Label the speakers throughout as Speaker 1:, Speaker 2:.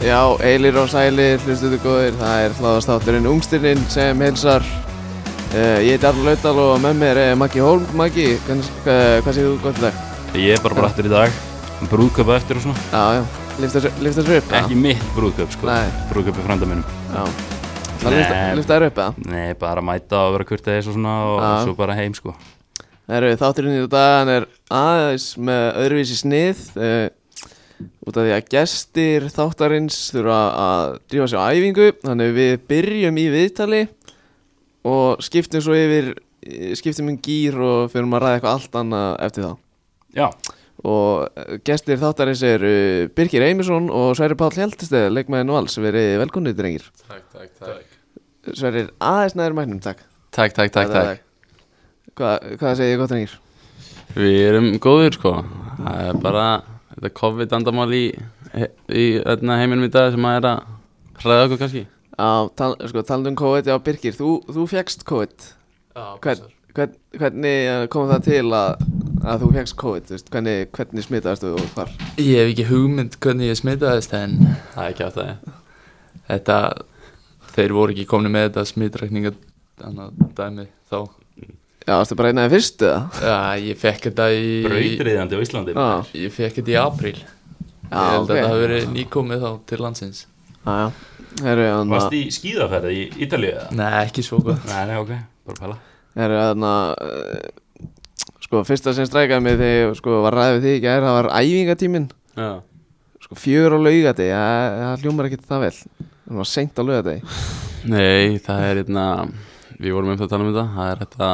Speaker 1: Já, eilir og sælir, hlustuðu góðir, það er hlaðastátturinn Ungstirinn sem hilsar. Uh, ég heiti Arnur Laudal og með mér er Maggi Holm. Maggi, hvern, uh, hvað séu þú gott í dag?
Speaker 2: Ég er bara brættur í dag Brúðköpa eftir og svona
Speaker 1: Já, já, lyfta þessu upp? eða?
Speaker 2: Ekki mitt brúðköp sko
Speaker 1: Nei.
Speaker 2: Brúðköp er frænda minnum
Speaker 1: Já. Það
Speaker 2: Nei.
Speaker 1: lyfta þér upp, eða?
Speaker 2: Nei, bara að mæta og vera kurteis og svona og
Speaker 1: Já.
Speaker 2: svo bara heim sko
Speaker 1: Það eru þátturinn í dag, hann er aðeins með öðruvísi snið. Uh, út af því að gestir þáttarins þurfa að drífa sér á æfingu, þannig við byrjum í viðtali og skiptum svo yfir, skiptum um gýr og fyrir að ræða eitthvað allt annað eftir það.
Speaker 2: Já,
Speaker 1: og eh, gestir þáttarins eru Birgir Eimesson og Sverri Páll Hjaltiste leikmæðin og alls, verið velkomnið drengir
Speaker 3: Takk, takk, takk
Speaker 1: Sverri, aðeins næður mæknum, takk
Speaker 3: Takk, takk, takk,
Speaker 1: Þetta er
Speaker 3: takk
Speaker 1: Hvað, hvað segir ég gott drengir?
Speaker 3: Við erum góðir sko Það er bara þetta COVID-andamál í, í öðna heiminum í dag sem að er að hræða okkur kannski
Speaker 1: Á, tal, sko, talandi um COVID, já Birgir, þú, þú fegst COVID hvern, hvern, Hvernig eh, kom það til að, að þú fegst COVID, þú veist, hvernig, hvernig smitaðist þú og hvar?
Speaker 4: Ég hef ekki hugmynd hvernig ég smitaðist en það er ekki að það Þetta, þeir voru ekki komni með þetta smitrækninga annað dæmi þá
Speaker 1: Já, varstu bara einaði fyrst eða?
Speaker 4: Já, ég fekk þetta í
Speaker 2: brautriðandi á Íslandi
Speaker 1: Já,
Speaker 4: Ég fekk þetta í apríl Ég
Speaker 1: Já,
Speaker 4: held
Speaker 1: ok.
Speaker 4: að það hafi verið nýkomið þá til landsins
Speaker 1: já, já Herru, hérna, hann
Speaker 2: Varst í skíðaferði í Ítalíu eða?
Speaker 4: Nei, ekki svo gott
Speaker 2: Nei, nei, ok, bara pæla
Speaker 1: Það er þarna uh, hérna, Sko, fyrsta sem strækaði mig þegar ég sko, var ræðið við þig í gær Það var æfingatíminn
Speaker 3: Já,
Speaker 1: Sko, fjögur á laugadegi Það það hljómar ekkert það vel Það var seint á laugadegi
Speaker 3: nei, það er hérna Við vorum um það að tala um þetta Það er þetta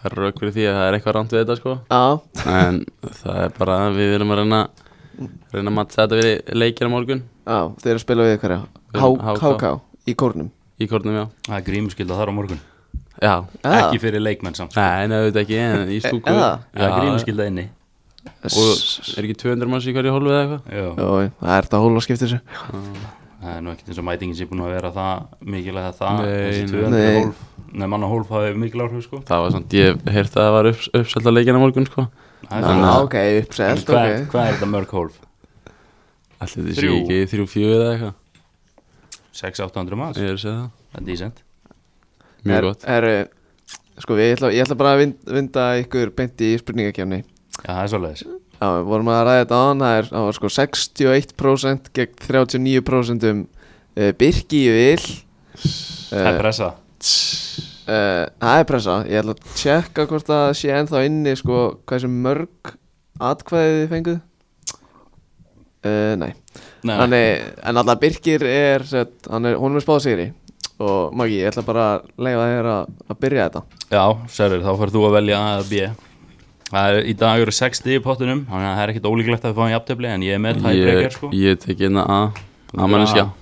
Speaker 3: ferra okkur fyrir því að það er eitthvað rámt við þetta sko
Speaker 1: Já,
Speaker 3: En það er bara að við erum að reyna reyna að matta þetta við leikir á morgun
Speaker 1: já, þeir eru að spila við ykkur
Speaker 3: Við erum HK.
Speaker 1: Háká í kórnum
Speaker 3: í kórnum já
Speaker 2: Það er grímuskylda þar á morgun
Speaker 3: Já,
Speaker 1: Já,
Speaker 2: Ekki fyrir leikmenn samt sko.
Speaker 3: nei, nei, auðvitað ekki en í stúku
Speaker 1: eða?
Speaker 2: Það er grímuskylda inni
Speaker 1: Ah,
Speaker 3: Og er ekki 200 manns í hverju hólfið eða eitthvað?
Speaker 2: Já,
Speaker 1: Jó, það er þetta hóla skiptir þessu
Speaker 2: það er nú ekkert eins og mætingin sem búin að vera það mikilega það
Speaker 3: Nei,
Speaker 2: þessi
Speaker 3: nei.
Speaker 2: 200
Speaker 1: Nei.
Speaker 2: hólf Nei, manna hólf hafi mikil áhrif sko
Speaker 3: Það var svona, ég heyrti að það var upp, uppselt á leikina morgun sko
Speaker 2: Það
Speaker 1: Já,
Speaker 2: er svona-
Speaker 1: ok,
Speaker 2: En
Speaker 1: uppselt,
Speaker 2: Hvað
Speaker 1: ok
Speaker 2: hvað er þetta mörg hólf?
Speaker 3: Allir þetta sé
Speaker 2: Þrjú.
Speaker 3: ekki þrjú fjögur eða eitthvað
Speaker 2: 6-800 maður,
Speaker 3: Ég er að segja það,
Speaker 2: það er decent
Speaker 3: mjög
Speaker 1: Her-
Speaker 3: gott
Speaker 1: Herru, sko, ég ætla, ég ætla bara að vind- vinda ykkur beint í spurningakefni
Speaker 2: Já, það er svoleiðis
Speaker 1: Já, við vorum að ræða þetta án, það er, það var sko 61% gegn 39% um uh, Birki í vil
Speaker 2: Það er
Speaker 1: uh,
Speaker 2: pressa
Speaker 1: Eh, Það er pressa, ég ætla að tjekka hvort það sé ennþá inni sko hversu mörg atkvæðið þið fenguð uh, Nei,
Speaker 2: Nei, nei.
Speaker 1: Þannig, en alltaf Birkir er, sett, hann er, hún er spáð sigri og Maggi, ég ætla bara að leifa þér að, að byrja þetta
Speaker 2: Já, Sverrir, þá færð þú að velja A eða B Það er í dag eru 60 í pottunum Þannig að það er ekkit ólíklegt að við fáum jafntefli En ég er með tæbreykar
Speaker 3: Ég,
Speaker 2: sko
Speaker 3: ég tek inn að A Amanniska
Speaker 2: A.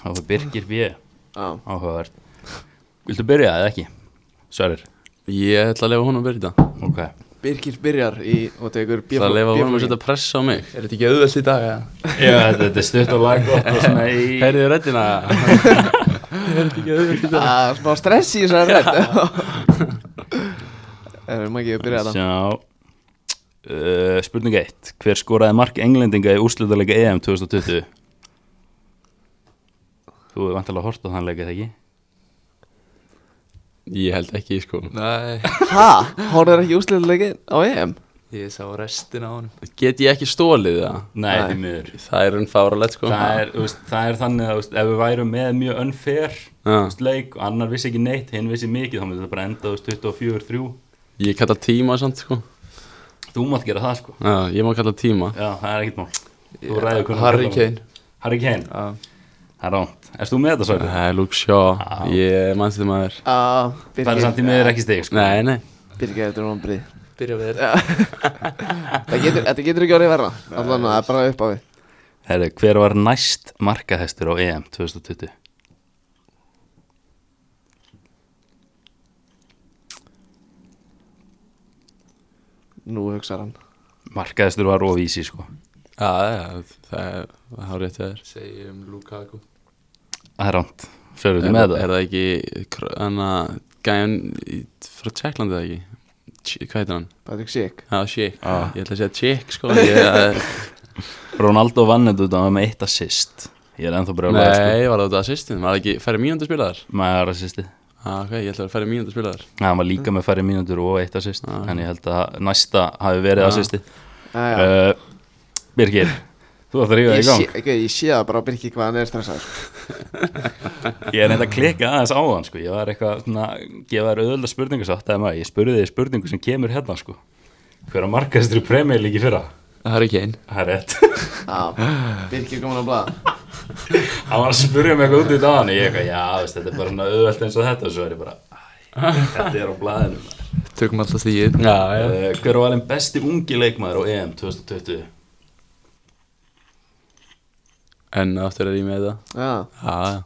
Speaker 2: Þá fyrir Birgir B
Speaker 1: Já,
Speaker 2: Áhugavert Viltu byrja eða ekki? Sverrir
Speaker 3: Ég ætla að lefa honum að byrja þetta
Speaker 2: Ok
Speaker 1: Birkir byrjar í og tekur
Speaker 3: Ég ætla að lefa honum að
Speaker 1: bíóflokkin.
Speaker 3: setja pressa á mig
Speaker 4: Er þetta ekki auðvelt í dag? Ja?
Speaker 2: Já, þetta, þetta er stutt og laggott og svona í
Speaker 3: Heyrðu röddina
Speaker 1: Það er Ah, smá stress í þessari rödd Erum ekki að Eh, byrja þetta
Speaker 2: Sjá Uh, spurning 1 Hver skoraði mark englendinga í úrslutalega EM 2020? Þú er vantilega að horta þann leika þegar ekki?
Speaker 3: Ég held ekki sko
Speaker 4: Nei,
Speaker 1: Hæ? Hóruður ekki úsliðleikin á EM?
Speaker 4: ég sá restina á honum
Speaker 3: Get ég ekki stólið það?
Speaker 2: Nei, því miður
Speaker 3: Það er enn fáralegt sko
Speaker 2: það er, þú veist, það er þannig að þú veist, ef við værum með mjög unfair þú
Speaker 3: Já.
Speaker 2: veist, leik og annar vissi ekki neitt, hinn vissi mikið þá myndi þetta bara enda þú veist, 24-3
Speaker 3: Ég kalla tíma samt sko
Speaker 2: þú mátt gera það sko
Speaker 3: Já, ég má kalla tíma
Speaker 2: já, það er ekkert mál þú ræður hvernig
Speaker 4: Harry
Speaker 2: þú kallar það.
Speaker 4: Kane
Speaker 2: Harry Kane,
Speaker 4: Já.
Speaker 2: það er ránt erst þú með þetta svolítið?
Speaker 3: Það er Luke Shaw Ég mannst þetta maður
Speaker 1: Á,
Speaker 2: það er
Speaker 1: Birgir
Speaker 2: samt í miður ekki stig sko.
Speaker 3: Nei, nei
Speaker 1: Birgir eftir hún brið
Speaker 4: Byrja við þér
Speaker 1: Það getur, þetta getur ekki orðið verra Allan að það er bara upp á við
Speaker 2: Herri, hver var næst markahestur á EM 2020?
Speaker 1: Nú hugsaði hann
Speaker 2: markahestur var ofísi sko
Speaker 3: Já, já, það er hár rétt að þér
Speaker 4: Segjum um Lukaku
Speaker 2: það er ránt, fyrir
Speaker 3: Er,
Speaker 2: þú með
Speaker 3: er
Speaker 2: það?
Speaker 3: það ekki hana, gæjan í- frá Tjekklandi eða ekki? Ch- Hvað heitir hann?
Speaker 1: Patrick Schick
Speaker 3: Já, Sjík Ég ætla að segja Sjík sko ég,
Speaker 2: Ronaldo vann þetta út af að hann var með eitt assist Ég er ennþá bara að sko
Speaker 3: Nei, var það út af assistin, var það ekki færri mínúndu spilaðar?
Speaker 2: Maður assisti
Speaker 3: Ah, ok, ég ætla að vera færri mínúndu spilaðar
Speaker 2: Nei, hann var líka með færri mínútur og eitt assist En ég held að næsta hafi verið
Speaker 3: Já.
Speaker 2: assisti
Speaker 1: Æ, já.
Speaker 2: uh, Birgir, þú ætti að rífa
Speaker 1: Eh, Ég
Speaker 2: í gang
Speaker 1: sé, ekki, ég sé það bara á Birki hvað hann er stressaður
Speaker 2: Ég er neitt að klika aðeins á hann sko. Ég var eitthvað svona, gefa þér auðvölda spurningu satt eða maður, ég spurði þér spurningu sem kemur hérna sko. Hver að markastur í premjörleiki fyrra?
Speaker 4: Það er ekki einn
Speaker 2: Það er rétt
Speaker 1: Já, Birki komin á blað
Speaker 2: Hann var að spurja mig eitthvað út í dagann Ég eitthvað, já, veist, þetta er bara svona auðvöld eins og þetta og svo er ég bara, æ, þetta er á blaðinu maður.
Speaker 4: Tökum alltaf stíðið
Speaker 3: Já,
Speaker 2: uh, Hver var þeim besti ungi leikmaður á EM 2020?
Speaker 3: En aftur er ég með það
Speaker 1: Já,
Speaker 3: Já, já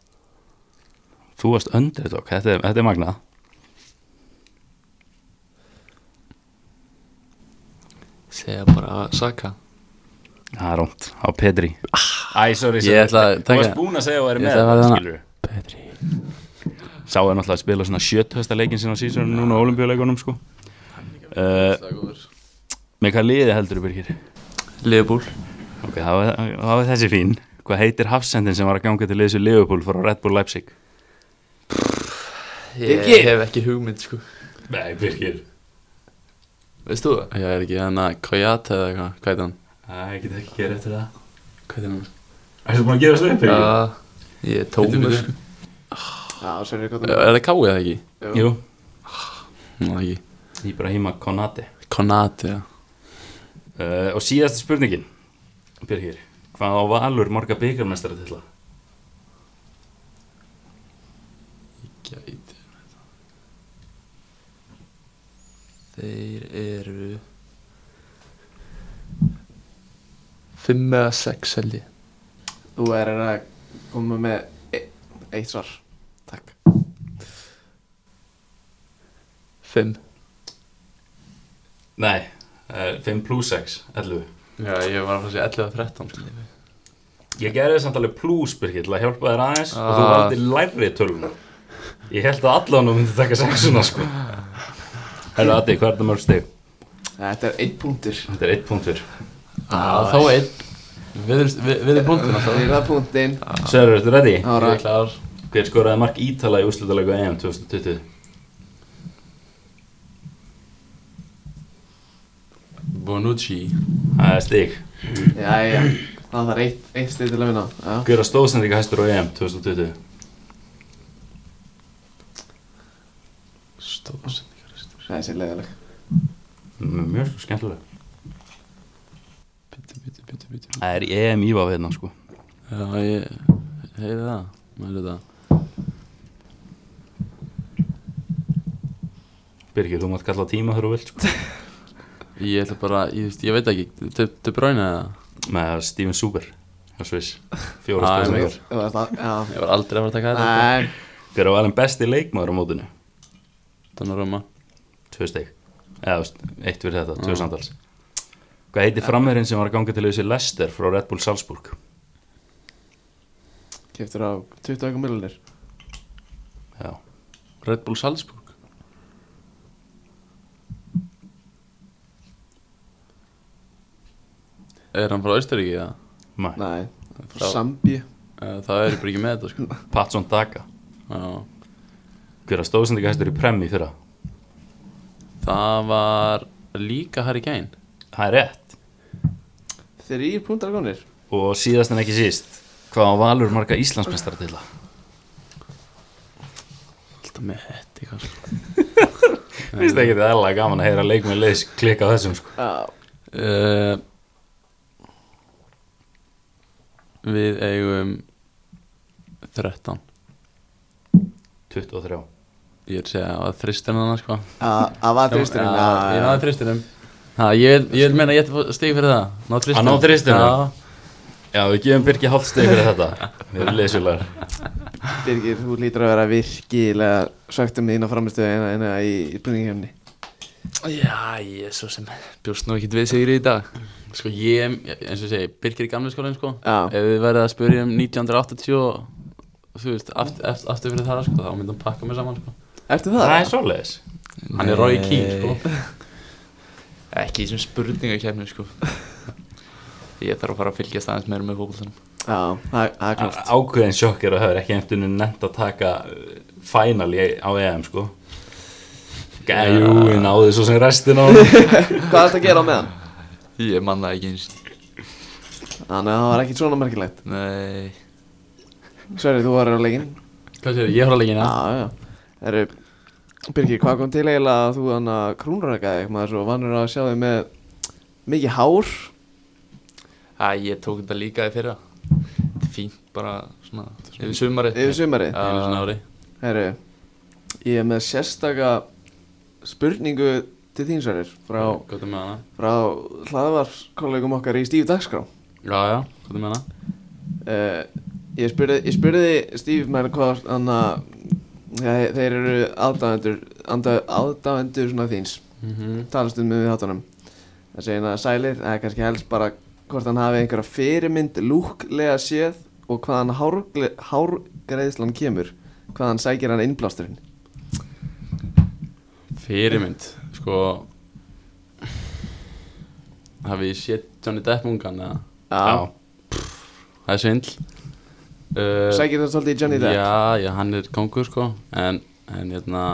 Speaker 2: Þú varst underdog, þetta er, þetta er magnað
Speaker 4: Segja bara Saka
Speaker 2: Það er rónt, á Pedri Æ, sorry,
Speaker 3: Ég ætla að
Speaker 2: Þú
Speaker 3: taka-
Speaker 2: varst búin að segja að það er
Speaker 3: Ég
Speaker 2: með
Speaker 3: ætla að
Speaker 2: þetta,
Speaker 3: verða-
Speaker 2: skilur Sá er náttúrulega að spila svona sjötthösta leikin sinna á sísunum núna á olimpíuleikunum sko uh,
Speaker 3: Betri
Speaker 2: Með hvað liði heldur þú Birgir?
Speaker 4: Leifbúl
Speaker 2: Ok, þá er- þá er þessi fín Hvað heitir hafsendin sem var að ganga til liðs í Liverpool frá Red Bull Leipzig?
Speaker 4: Ég
Speaker 1: Birgir!
Speaker 4: hef ekki hugmynd sko
Speaker 2: Nei, Birgir
Speaker 4: Veist þú það?
Speaker 3: Já, er ekki hann að Koyata eða eitthvað, hvað heitir hann?
Speaker 2: Það ég get ekki gerð eftir það
Speaker 3: Hvað heitir hann?
Speaker 2: Ertu búin að gera þessu upp,
Speaker 4: Já Ég er tómur
Speaker 3: Bíddu,
Speaker 4: sko
Speaker 1: já, svo er ég gott
Speaker 3: Er það Káið eða ekki?
Speaker 2: Jú,
Speaker 3: Ná, það ekki
Speaker 2: Ibrahima Konate
Speaker 3: Konati, já
Speaker 2: uh, Og síðasta spurningin Birgir, hvað á Valur marga byggarmestara til það?
Speaker 3: Gæti
Speaker 4: Þeir eru Fimm eða sex held ég
Speaker 1: Þú er að koma með e- eitt svar Takk
Speaker 4: Fimm
Speaker 2: Nei, uh, 5 plus 6, 11
Speaker 3: Já, ég var að fara að segja 11 og 13 sko.
Speaker 2: Ég gerði samt alveg plus, Birgir, til að hjálpa þér aðeins og þú valdi læri tölvuna Ég held að allan hún myndi taka sexuna, sko Herra, Adi, hvað er þetta mörg stig?
Speaker 1: Þetta er einn punktur
Speaker 2: Þetta er eitt punktur Ah.
Speaker 3: Já, þá einn Við erum- Við við erum búndin alltaf
Speaker 1: Það er það punktinn
Speaker 2: Sverður, ertu ready?
Speaker 1: Það var
Speaker 3: Ég er klár
Speaker 2: Hver skoraði mark Ítala í úrslutalega EM 2020?
Speaker 3: Bonucci
Speaker 2: Það er stig
Speaker 1: Jæja, það þarf eitt, eitt stið til að vinna Já,
Speaker 2: Hver að stóðsendinga hæstur á EM 2020?
Speaker 3: Stóðsending
Speaker 1: þessi er leiðileg
Speaker 2: M- Mjög sko skemmtilega
Speaker 3: Bitti, bitti, bitti, bitti
Speaker 2: Það er EM íváf hérna, sko
Speaker 3: Já, ég heyri það Mælu það
Speaker 2: Birgir, þú mátt kalla á tíma þegar þú vilt, sko
Speaker 3: Ég ætla bara, ég, veist, ég veit ekki Þau bráinu eða
Speaker 2: Með Steven Super, hjá Sviss Fjóra
Speaker 3: Ah,
Speaker 2: stóðsendingar
Speaker 1: Þú veist það, já
Speaker 3: Ég var aldrei að fara að taka þetta
Speaker 1: Nei,
Speaker 2: Hver var alveg besti leikmaður á mótinu?
Speaker 3: Donnarumma
Speaker 2: Tvö steg Eða, þú veist, eitt fyrir þetta, tvö samtals Hvað heitir framherinn sem var að ganga til þessi Lester frá Red Bull Salzburg?
Speaker 1: keftur á 20 miljonir
Speaker 2: Já,
Speaker 3: Red Bull Salzburg Er hann frá Austuríki eða?
Speaker 2: mæ
Speaker 1: Nei, frá
Speaker 3: Já.
Speaker 1: Sambí
Speaker 3: Eh, Það er ég bara ekki með þetta sko
Speaker 2: Patson Daka
Speaker 3: Já.
Speaker 2: Hver að stóðsendika hæstur í premmi fyrra?
Speaker 3: Það var líka Harry Kane
Speaker 2: Það er rétt
Speaker 1: Þrýr punktar konir
Speaker 2: Og síðast en ekki síst Hvað á Valur marga Íslandsmestara til það?
Speaker 3: Alltaf með þetta eitthvað sko.
Speaker 2: Vist ekki þetta erlega gaman að heyra leikmenn leis klikka á þessum sko
Speaker 1: Já,
Speaker 3: uh, Við eigum 13
Speaker 2: 23
Speaker 3: Ég er að segja að þristin hann sko
Speaker 1: það var þrýsturinn
Speaker 3: Já, Ég náði þristinum Ha, ég, vil- ég vil meina að ég ætti stig fyrir það Ná þristinum
Speaker 2: náði þristinum?
Speaker 3: Já
Speaker 2: Já, við gefum Birgi hálft steg fyrir þetta Við erum leisulegar
Speaker 1: Birgir, þú lítur að vera virkilega svegt um þína framistöðu en, en, í, í búningkjöfni
Speaker 4: Já, ég er svo sem bjóst nú ekkert við sigri í dag
Speaker 3: Sko ég, eins og ég segi, Birgir í gamle skólan sko
Speaker 1: Já.
Speaker 3: Ef við verðum að spyrja um 1980 og þú veist, aftur, aftur, aftur fyrir það sko, þá myndum við pakka mig saman sko
Speaker 1: Ertu það?
Speaker 2: Það er svoleiðis
Speaker 3: Hann er Roy Keane sko
Speaker 4: Ekki í þessum spurningakefni sko ég þarf að fara að fylgjast aðeins meira með fókbaltunum
Speaker 1: Já, það er- það er klart
Speaker 2: Á- ákveðin sjokk er að höfður ekki eftir nefnt að taka uh, final í, á EM sko Gæjú, ég náði svo sem restin á honum.
Speaker 1: Hvað er þetta að gera á meðan?
Speaker 4: ég manna ekki eins
Speaker 1: Þannig að það var ekki svona merkilegt
Speaker 4: nei
Speaker 1: Sverri, þú var á leikinn
Speaker 3: Hvað sér, ég horf að leikina
Speaker 1: Já, já Eru, Birgir, hvað kom til eiginlega að þú hann að krúnrakaði eitthvað maður er svo vannur að sjá þig með mikið hár
Speaker 4: Æ, ég tók þetta líka í fyrra þetta er fínt bara svona yfir sumarið
Speaker 1: yfir sumarið
Speaker 3: Einu sinni ári
Speaker 1: Herru, ég er með sérstaka spurningu til þín Sverrir frá,
Speaker 3: Hvað er með hana?
Speaker 1: frá hlaðvarkollegum okkar í Stíf Dagskrá
Speaker 3: Já, já, hvað er með hana?
Speaker 1: uh, ég, spurði, ég spurði Steve menn hvað hann að þeir, þeir eru aðdáendur anda- aðdáendur svona þíns
Speaker 3: Mhm.
Speaker 1: talast um við hátunum það segir hann að sælir, eða kannski helst bara hvort hann hafi einhverja fyrirmynd lúklega séð og hvaðan hárgle- hárgreiðslan kemur hvaðan sækir hann innblásturinn
Speaker 3: Fyrirmynd, sko Hafið ég sétt Johnny Depp ungan eða?
Speaker 1: Já,
Speaker 3: Það er svindl uh,
Speaker 1: sækir það svolítið í Johnny Depp
Speaker 3: Já, já, hann er kongur, sko En, en, hérna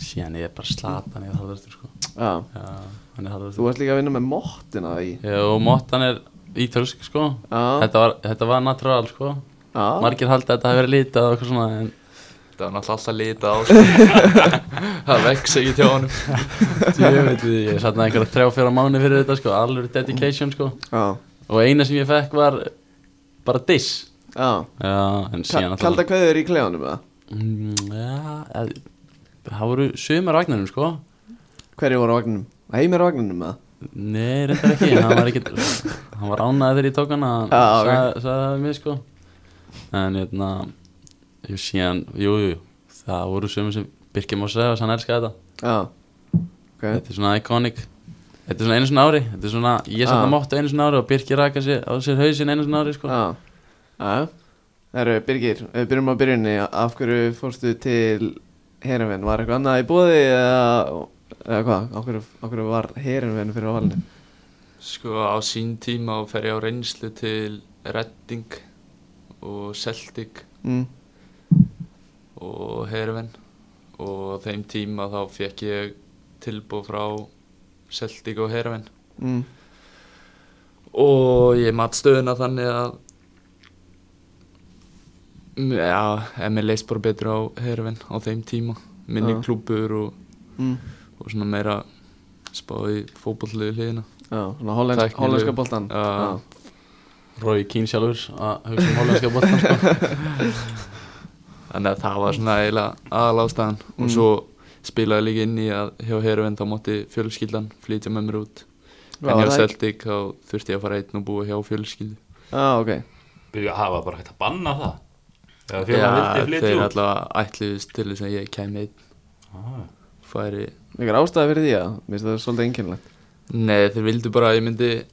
Speaker 3: Síðan ég er bara slatan, ég er harðastur, sko
Speaker 1: Já.
Speaker 3: Já, hann er harðastur
Speaker 1: Þú varst líka að vinna með móttina í
Speaker 3: Já, og Mottan er ítölsk, sko
Speaker 1: Já,
Speaker 3: Þetta var, þetta var natural, sko
Speaker 1: já,
Speaker 3: Margir haldi að þetta hafi verið litað og eitthvað svona En
Speaker 4: þetta var náttúrulega alltaf lita á sko. það vex ekki hjá honum
Speaker 3: ég veit við, ég satt einhverja þrjá fjóra mánu fyrir þetta, sko Alveg dedication, sko
Speaker 1: já,
Speaker 3: Og eina sem ég fekk var bara diss
Speaker 1: já.
Speaker 3: Já, en síðan
Speaker 1: Ka- Kalda kveður í klefanum eða?
Speaker 3: Mm, Já, eð- það voru sumar á vagninum, sko
Speaker 1: Hverju voru á vagninum? Heimir á vagninum eða?
Speaker 3: Nei, reyndar ekki, hann var ekkert Hann var ánaði þegar ég tók hann Hann
Speaker 1: Já, ok.
Speaker 3: sagði sagði það við mig, sko En hérna Jú, síðan, jú, jú Það voru sumar sem Birkir Mósa sagði að hann elskaði þetta
Speaker 1: Já okay.
Speaker 3: Þetta er svona iconic Þetta er svona einu svona ári Þetta er svona, ég
Speaker 1: Já.
Speaker 3: satt að móttu einu svona ári og Birkir raka sér á sér hausinn einu svona ári, sko
Speaker 1: Já Já Það eru Birgir, við byrjum á byrjunni Af hverju fórstu til Herumvinn? Var eitthvað annað í bóði eða, eða hvað? Af hverju, af hverju var Herumvinn fyrir á valinu?
Speaker 4: Sko á sín tíma fer ég á reynslu til Redding og Celtic
Speaker 1: Mm.
Speaker 4: og Herven og á þeim tíma þá fekk ég tilbúð frá Celtic og Herven
Speaker 1: Mm.
Speaker 4: og ég mat stöðuna þannig að Mm, Já, en mér leist bara betur á Herven á þeim tíma minni
Speaker 1: Já.
Speaker 4: klúpur og,
Speaker 1: Mm.
Speaker 4: og svona meira spáði fótbollluðu hliðina
Speaker 1: Já, svona hollensk,
Speaker 4: Tæknileg.
Speaker 1: hollenska boltan
Speaker 4: Já.
Speaker 3: Rói Kín sjálfur að hugsa um hollandska bóttan, sko
Speaker 4: þannig að það var svona eiginlega aðalástaðan
Speaker 1: Mm.
Speaker 4: og svo spilaði líka inn í að hjá Herven þá mátti fjölskyldan flytja með mér út
Speaker 1: Já,
Speaker 4: en hjá
Speaker 1: það-
Speaker 4: Celtic þá þurfti ég að fara einn og búa hjá fjölskyldu
Speaker 1: Já, ok
Speaker 2: Byrja að hafa bara hægt að banna það Þegar
Speaker 4: Já,
Speaker 2: fjöla vildi
Speaker 4: þeir
Speaker 2: flytja út
Speaker 4: alltaf ætluðist til þess að ég kæmi einn
Speaker 2: Ah,
Speaker 4: færi,
Speaker 1: Mikið ástæði fyrir því að Mér finnst það svolítið einkennilegt
Speaker 4: nei þeir vildu bara að ég myndi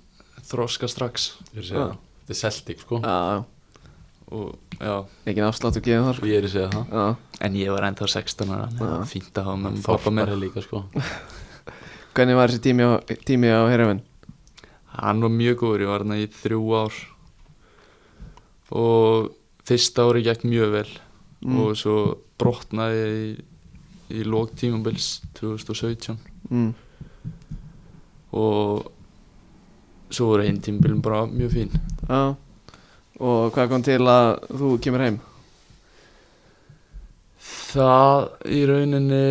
Speaker 4: þroska strax
Speaker 3: Ég er að segja
Speaker 1: Ah.
Speaker 3: það. Þetta er Celtic sko
Speaker 1: Já, já
Speaker 4: og já,
Speaker 1: Ekki afslátt og gefið þar sko.
Speaker 3: Og ég er að segja það
Speaker 1: Já
Speaker 4: en ég var ennþá 16 ára þannig að það var fínt að hafa með pappa mér
Speaker 3: Þorpar er líka sko
Speaker 1: Hvernig var þessi tími á, tími á Herumvinn?
Speaker 4: Hann var mjög góður, ég var hérna í þrjú ár og fyrsta ári gekk mjög vel
Speaker 1: Mm.
Speaker 4: og svo brotnaði ég í, í lók tímabils 2017
Speaker 1: Mm.
Speaker 4: og svo voru einn tímabilum bara mjög fín.
Speaker 1: Já Og hvað kom til að þú kemur heim?
Speaker 4: Það í rauninni,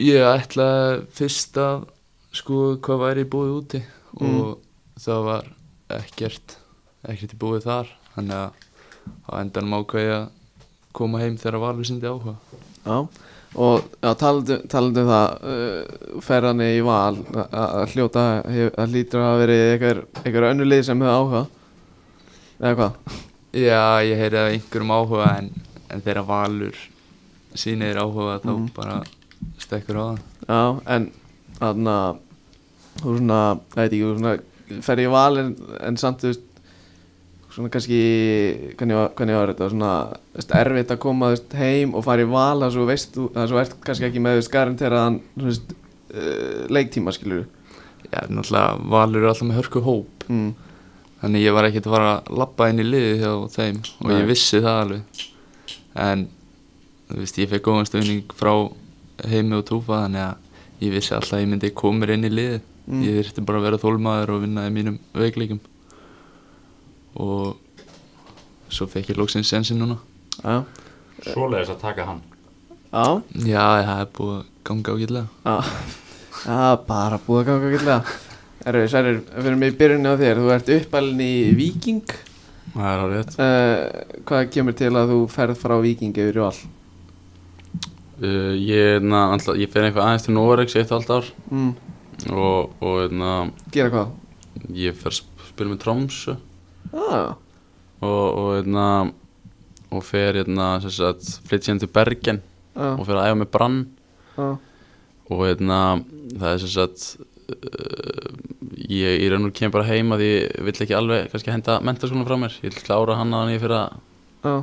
Speaker 4: ég ætlaði fyrst að sko hvað væri í búið úti og það var ekkert, ekkert í búið þar þannig að á endanum ákvað ég að koma heim þegar Valur sindi áhuga.
Speaker 1: Já, og já, talandi, talandi um það uh, ferðan í val a- a- að hljóta, hef- að hlýtur að hafa verið einhver, einhver önnulið sem hefur áhuga eða hvað
Speaker 4: Já, ég heyrði að einhverjum áhuga en, en þegar Valur sínir áhuga þá bara stekkur á það.
Speaker 1: Já, en þannig að þú svona, það veit ekki, þú svona fer í val en, en samt þú veist svona kannski hvernig var, hvernig var þetta, svona þú veist, erfitt að koma þú veist, heim og fara í val þar svo veist þú, þar svo ert kannski ekki með þú veist garanteraðan þú veist, uh, eh, leiktíma skilur
Speaker 4: já, náttúrulega valur er alltaf með hörku hóp
Speaker 1: mm.
Speaker 4: þannig ég var ekkert að fara að labba inn í liðið hjá þeim og
Speaker 3: Nei.
Speaker 4: ég vissi það alveg en þú veist, ég fekk góðan stöðning frá heimi og túfa þannig að ég vissi alltaf að ég myndi koma mér inn í liðið
Speaker 1: Mm.
Speaker 4: ég þurfti bara að vera þólmaður og vinna í mínum veikleikum og svo fekk ég loksins sensin núna
Speaker 1: Já,
Speaker 2: Svoleiðis að taka hann
Speaker 1: já,
Speaker 4: já, það er búið að ganga ágætlega
Speaker 1: já Já, bara búið að ganga gillega Erfið, Særir, fyrir mig í byrjunni á þér Þú ert uppalinn í Viking
Speaker 3: það er alveg rétt
Speaker 1: uh, Hvað kemur til að þú ferð frá Viking yfir í all?
Speaker 3: uh, ég, na, alltaf, ég fer eitthvað aðeins til Norex eitt og halvt ár
Speaker 1: Mm.
Speaker 3: og, og na,
Speaker 1: Gera hvað?
Speaker 3: ég fer að sp- spila með Tromsö
Speaker 1: Ah,
Speaker 3: og, og, hérna, og fer hérna, sem sagt, flytt síðan til Bergen
Speaker 1: já,
Speaker 3: og fer að æfa með Brann
Speaker 1: já,
Speaker 3: og hérna, það er sem sagt uh, ég í raun og kem bara heima því ég vill ekki alveg kannski henda mentarskólan frá mér ég vil klára hann að hann ég fyrir að
Speaker 1: já,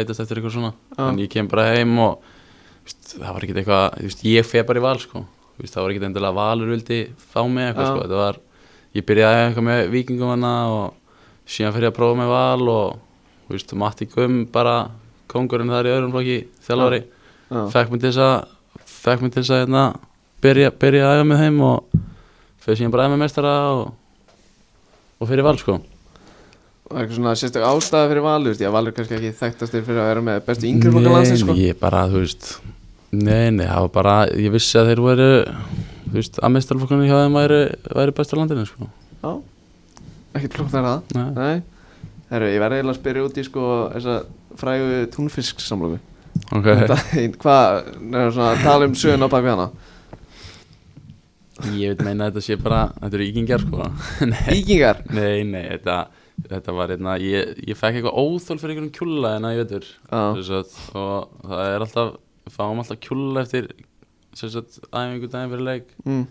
Speaker 3: leitast eftir eitthvað svona
Speaker 1: Já.
Speaker 3: en ég kem bara heim og þú veist, það var ekkert eitthvað þú veist, ég fer bara í val sko Þú veist, það var ekkert endilega valur vildi fá mig
Speaker 1: Já.
Speaker 3: eitthvað sko þetta var ég byrjaði að æfa eitthvað með vikingum hana og síðan fyrir að prófa með val og þú veist, Matti Gumm bara kongurinn þar í öðrum flokki þjálfari
Speaker 1: já.
Speaker 3: fekk mér til þess að fekk mér til þess að hérna, byrja, byrja að æfa með þeim og fyrir síðan bara æfa með mestara og, og fyrir val sko
Speaker 1: Og eitthvað svona sérstök ástæða fyrir Valur Því að Valur er kannski ekki þekktastir fyrir að vera með bestu yngri flokka landsins sko.
Speaker 3: Nei, ég bara, þú veist Nei, nei, það var bara, ég vissi að þeir voru Þú veist, að mestarflokkarnir hjá þeim væri, væri bestur á landinu sko
Speaker 1: Já, ekki kloknar það
Speaker 3: Nei,
Speaker 1: Nei, herru, ég verði eiginlega að spyrja út í sko þessa frægu túnfisksamlöku
Speaker 3: ok
Speaker 1: Daginn, Hvað, nefnir svona að tala um söguna á bak við hana
Speaker 3: Ég veit meina að þetta sé bara, þetta eru ykingar sko Nei,
Speaker 1: Víkingar
Speaker 3: nei, nei, þetta Þetta var hérna, ég, ég fekk eitthvað óþól fyrir einhvern kjúla hérna í vetur
Speaker 1: Já,
Speaker 3: Sem sagt, og það er alltaf, við fáum alltaf kjúla eftir sem sagt, æfingu daginn fyrir leik
Speaker 1: mm,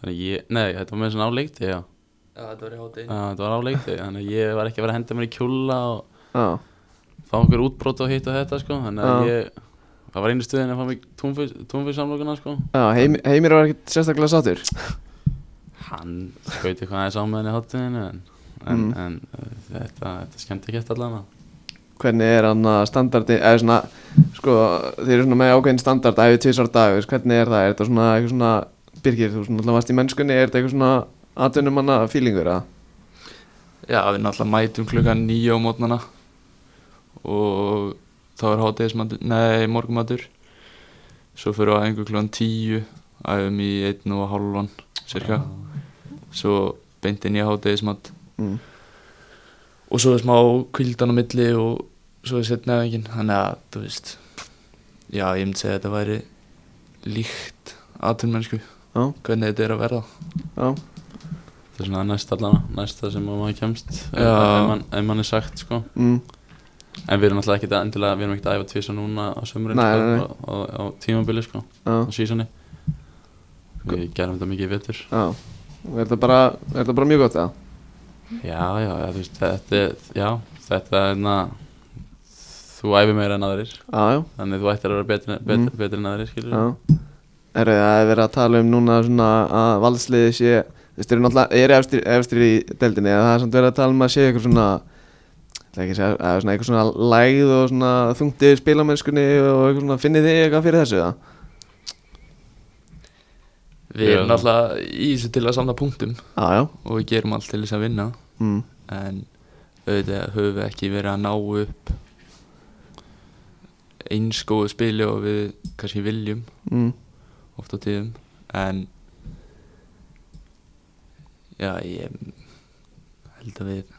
Speaker 3: Þannig ég, nei, þetta var með svona á leikti, já
Speaker 4: já, þetta var í hátegi
Speaker 3: Já, Þetta var á leikti, þannig að ég var ekki að vera að henda mér í kjúla og
Speaker 1: já,
Speaker 3: fá einhver útbrót og hitt og þetta sko þannig að
Speaker 1: Já.
Speaker 3: ég það var einu stuðin að fá mig tónfyrsamlokuna sko
Speaker 1: já heim, Heimir var ekkert sérstaklega sáttur
Speaker 3: hann skaut eitthvað aðeins á með henni hotinu en, en,
Speaker 1: Mm.
Speaker 3: en uh, þetta, þetta skemmt ekki eftir allan sko.
Speaker 1: Hvernig er hann að standardi eða svona, sko, þeir eru svona með ákveðin standard æfið tvisar dag, veist, hvernig er það er þetta svona, eitthvað svona, Birgir, þú svona alltaf varst í mennskunni, er þetta eitthvað svona atvinnumanna fílingur, að?
Speaker 4: Já, við náttúrulega mætum klukkan nýja á mótnana og þá er hátegismatur, nei, morgumatur svo fyrir á einhver klukkan tíu æfum í einn og hálfan cirka, svo beinti nýja hátegismat
Speaker 1: Mm.
Speaker 4: og svo er smá kvildan á milli og svo er setna efingin þannig að, þú veist já, ég myndi segja að þetta væri líkt aðtunmennsku
Speaker 1: Já.
Speaker 4: hvernig þetta er að verða
Speaker 1: Já,
Speaker 3: þetta er svona næst allan næsta sem maður kemst ef-
Speaker 4: Já.
Speaker 3: ef mann- ef mann er sagt sko
Speaker 1: mm,
Speaker 3: en við erum alltaf ekki endilega við erum ekki að æfa tvisa núna á sömurinn
Speaker 1: Nei, nei, nei.
Speaker 3: sko, á, á, á tímabili sko
Speaker 1: já
Speaker 3: á sísoni við gerum þetta mikið í vetur
Speaker 1: Já, er þetta bara, er þetta bara mjög gott eða?
Speaker 3: Já, já, já, þú veist, þetta, er- já, þetta er na, þú æfir meira en aðrir,
Speaker 1: Já, já,
Speaker 3: þannig þú ættir að vera betri, betri,
Speaker 1: Mm.
Speaker 3: betri en aðrir, skilur
Speaker 1: já Herru, það er verið að tala um núna svona að valsliði sé Þú veist, þeir eru náttúrulega, eru efstir, efstir í deildinni eða það er samt verið að tala um að sé eitthvað svona Það ekki að segja, eða svona eitthvað svona lægð og svona þungti spilamennskunni og eitthvað svona finnið þið eitthvað fyrir þessu það?
Speaker 4: við erum
Speaker 3: Já.
Speaker 4: náttúrulega í þessu til að samla punktum
Speaker 1: Já, já,
Speaker 4: og við gerum allt til þess að vinna
Speaker 1: mm,
Speaker 4: en auðvitað höfum við ekki verið að ná upp eins góðu spili og við kannski viljum
Speaker 1: mm,
Speaker 4: oft á tíðum en já ég held að við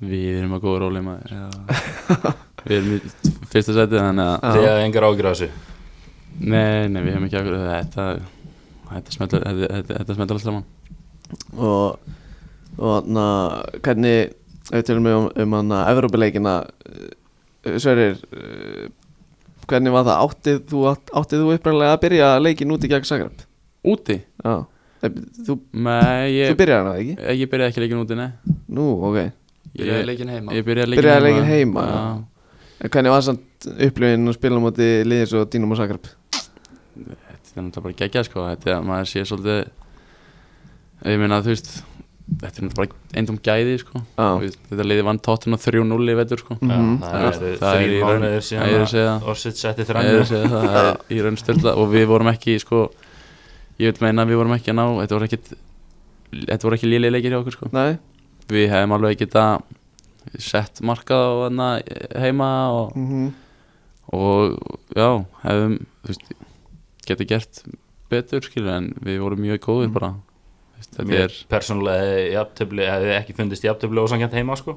Speaker 3: Við erum að góða róli maður,
Speaker 4: já,
Speaker 3: við erum í fyrsta setið, þannig að,
Speaker 1: Já.
Speaker 2: Þið hafði engar ágjur á þessu
Speaker 3: nei, nei, við hefum ekki akkur, þetta, þetta smeltur, þetta, þetta, þetta smeltur alltaf mann.
Speaker 1: og, og na, hvernig, ef við tölum um, um hann að Evrópileikina Sverir, eh, hvernig var það, áttið þú, átt- áttið þú uppræðlega að byrja leikin úti gegn Zagreb?
Speaker 3: Úti?
Speaker 1: Já, Nei, þú,
Speaker 3: Nei,
Speaker 1: þú
Speaker 3: ég, Eh,
Speaker 1: byrjar hann það ekki?
Speaker 3: ég byrjaði ekki leikin úti, nei.
Speaker 1: Nú, ok,
Speaker 4: byrjaði leikin heima
Speaker 3: Ég byrjaði leikin
Speaker 1: Byrjaði leikinn heima,
Speaker 3: já.
Speaker 1: já. en hvernig var samt upplifin að spila á móti liðins og Dínum og Zagreb?
Speaker 3: Þetta er náttúrulega bara geggjað, sko, þetta, maður sé svolítið, ég meina þú veist þetta er náttúrulega bara eindum gæði sko.
Speaker 1: Já.
Speaker 3: Þú veist, þetta liði vann tóttuna 3-0 í vetur sko.
Speaker 2: Já,
Speaker 1: Mhm.
Speaker 2: Það eru
Speaker 3: Það er
Speaker 2: þrjir
Speaker 3: í raun-
Speaker 2: mánuðir
Speaker 3: Já, ég er að segja
Speaker 2: síðan
Speaker 3: það.
Speaker 2: Orsitt setti
Speaker 3: Ég er að
Speaker 2: þrannir
Speaker 3: segja það, það er í raun styrla og við vorum ekki sko, ég vil meina að við vorum ekki að ná þetta voru ekki þetta voru ekki lélega leikir hjá okkur sko.
Speaker 1: Nei,
Speaker 3: við hefum alveg geta sett markað og hana, heima og,
Speaker 1: mhm,
Speaker 3: og já, hefum þú veist, geta gert betur skilur en við vorum mjög góðir bara Þú veist, þetta er,
Speaker 2: Persónulega jafntöfli, hefði ekki fundist jafntöfli ósangjant heima sko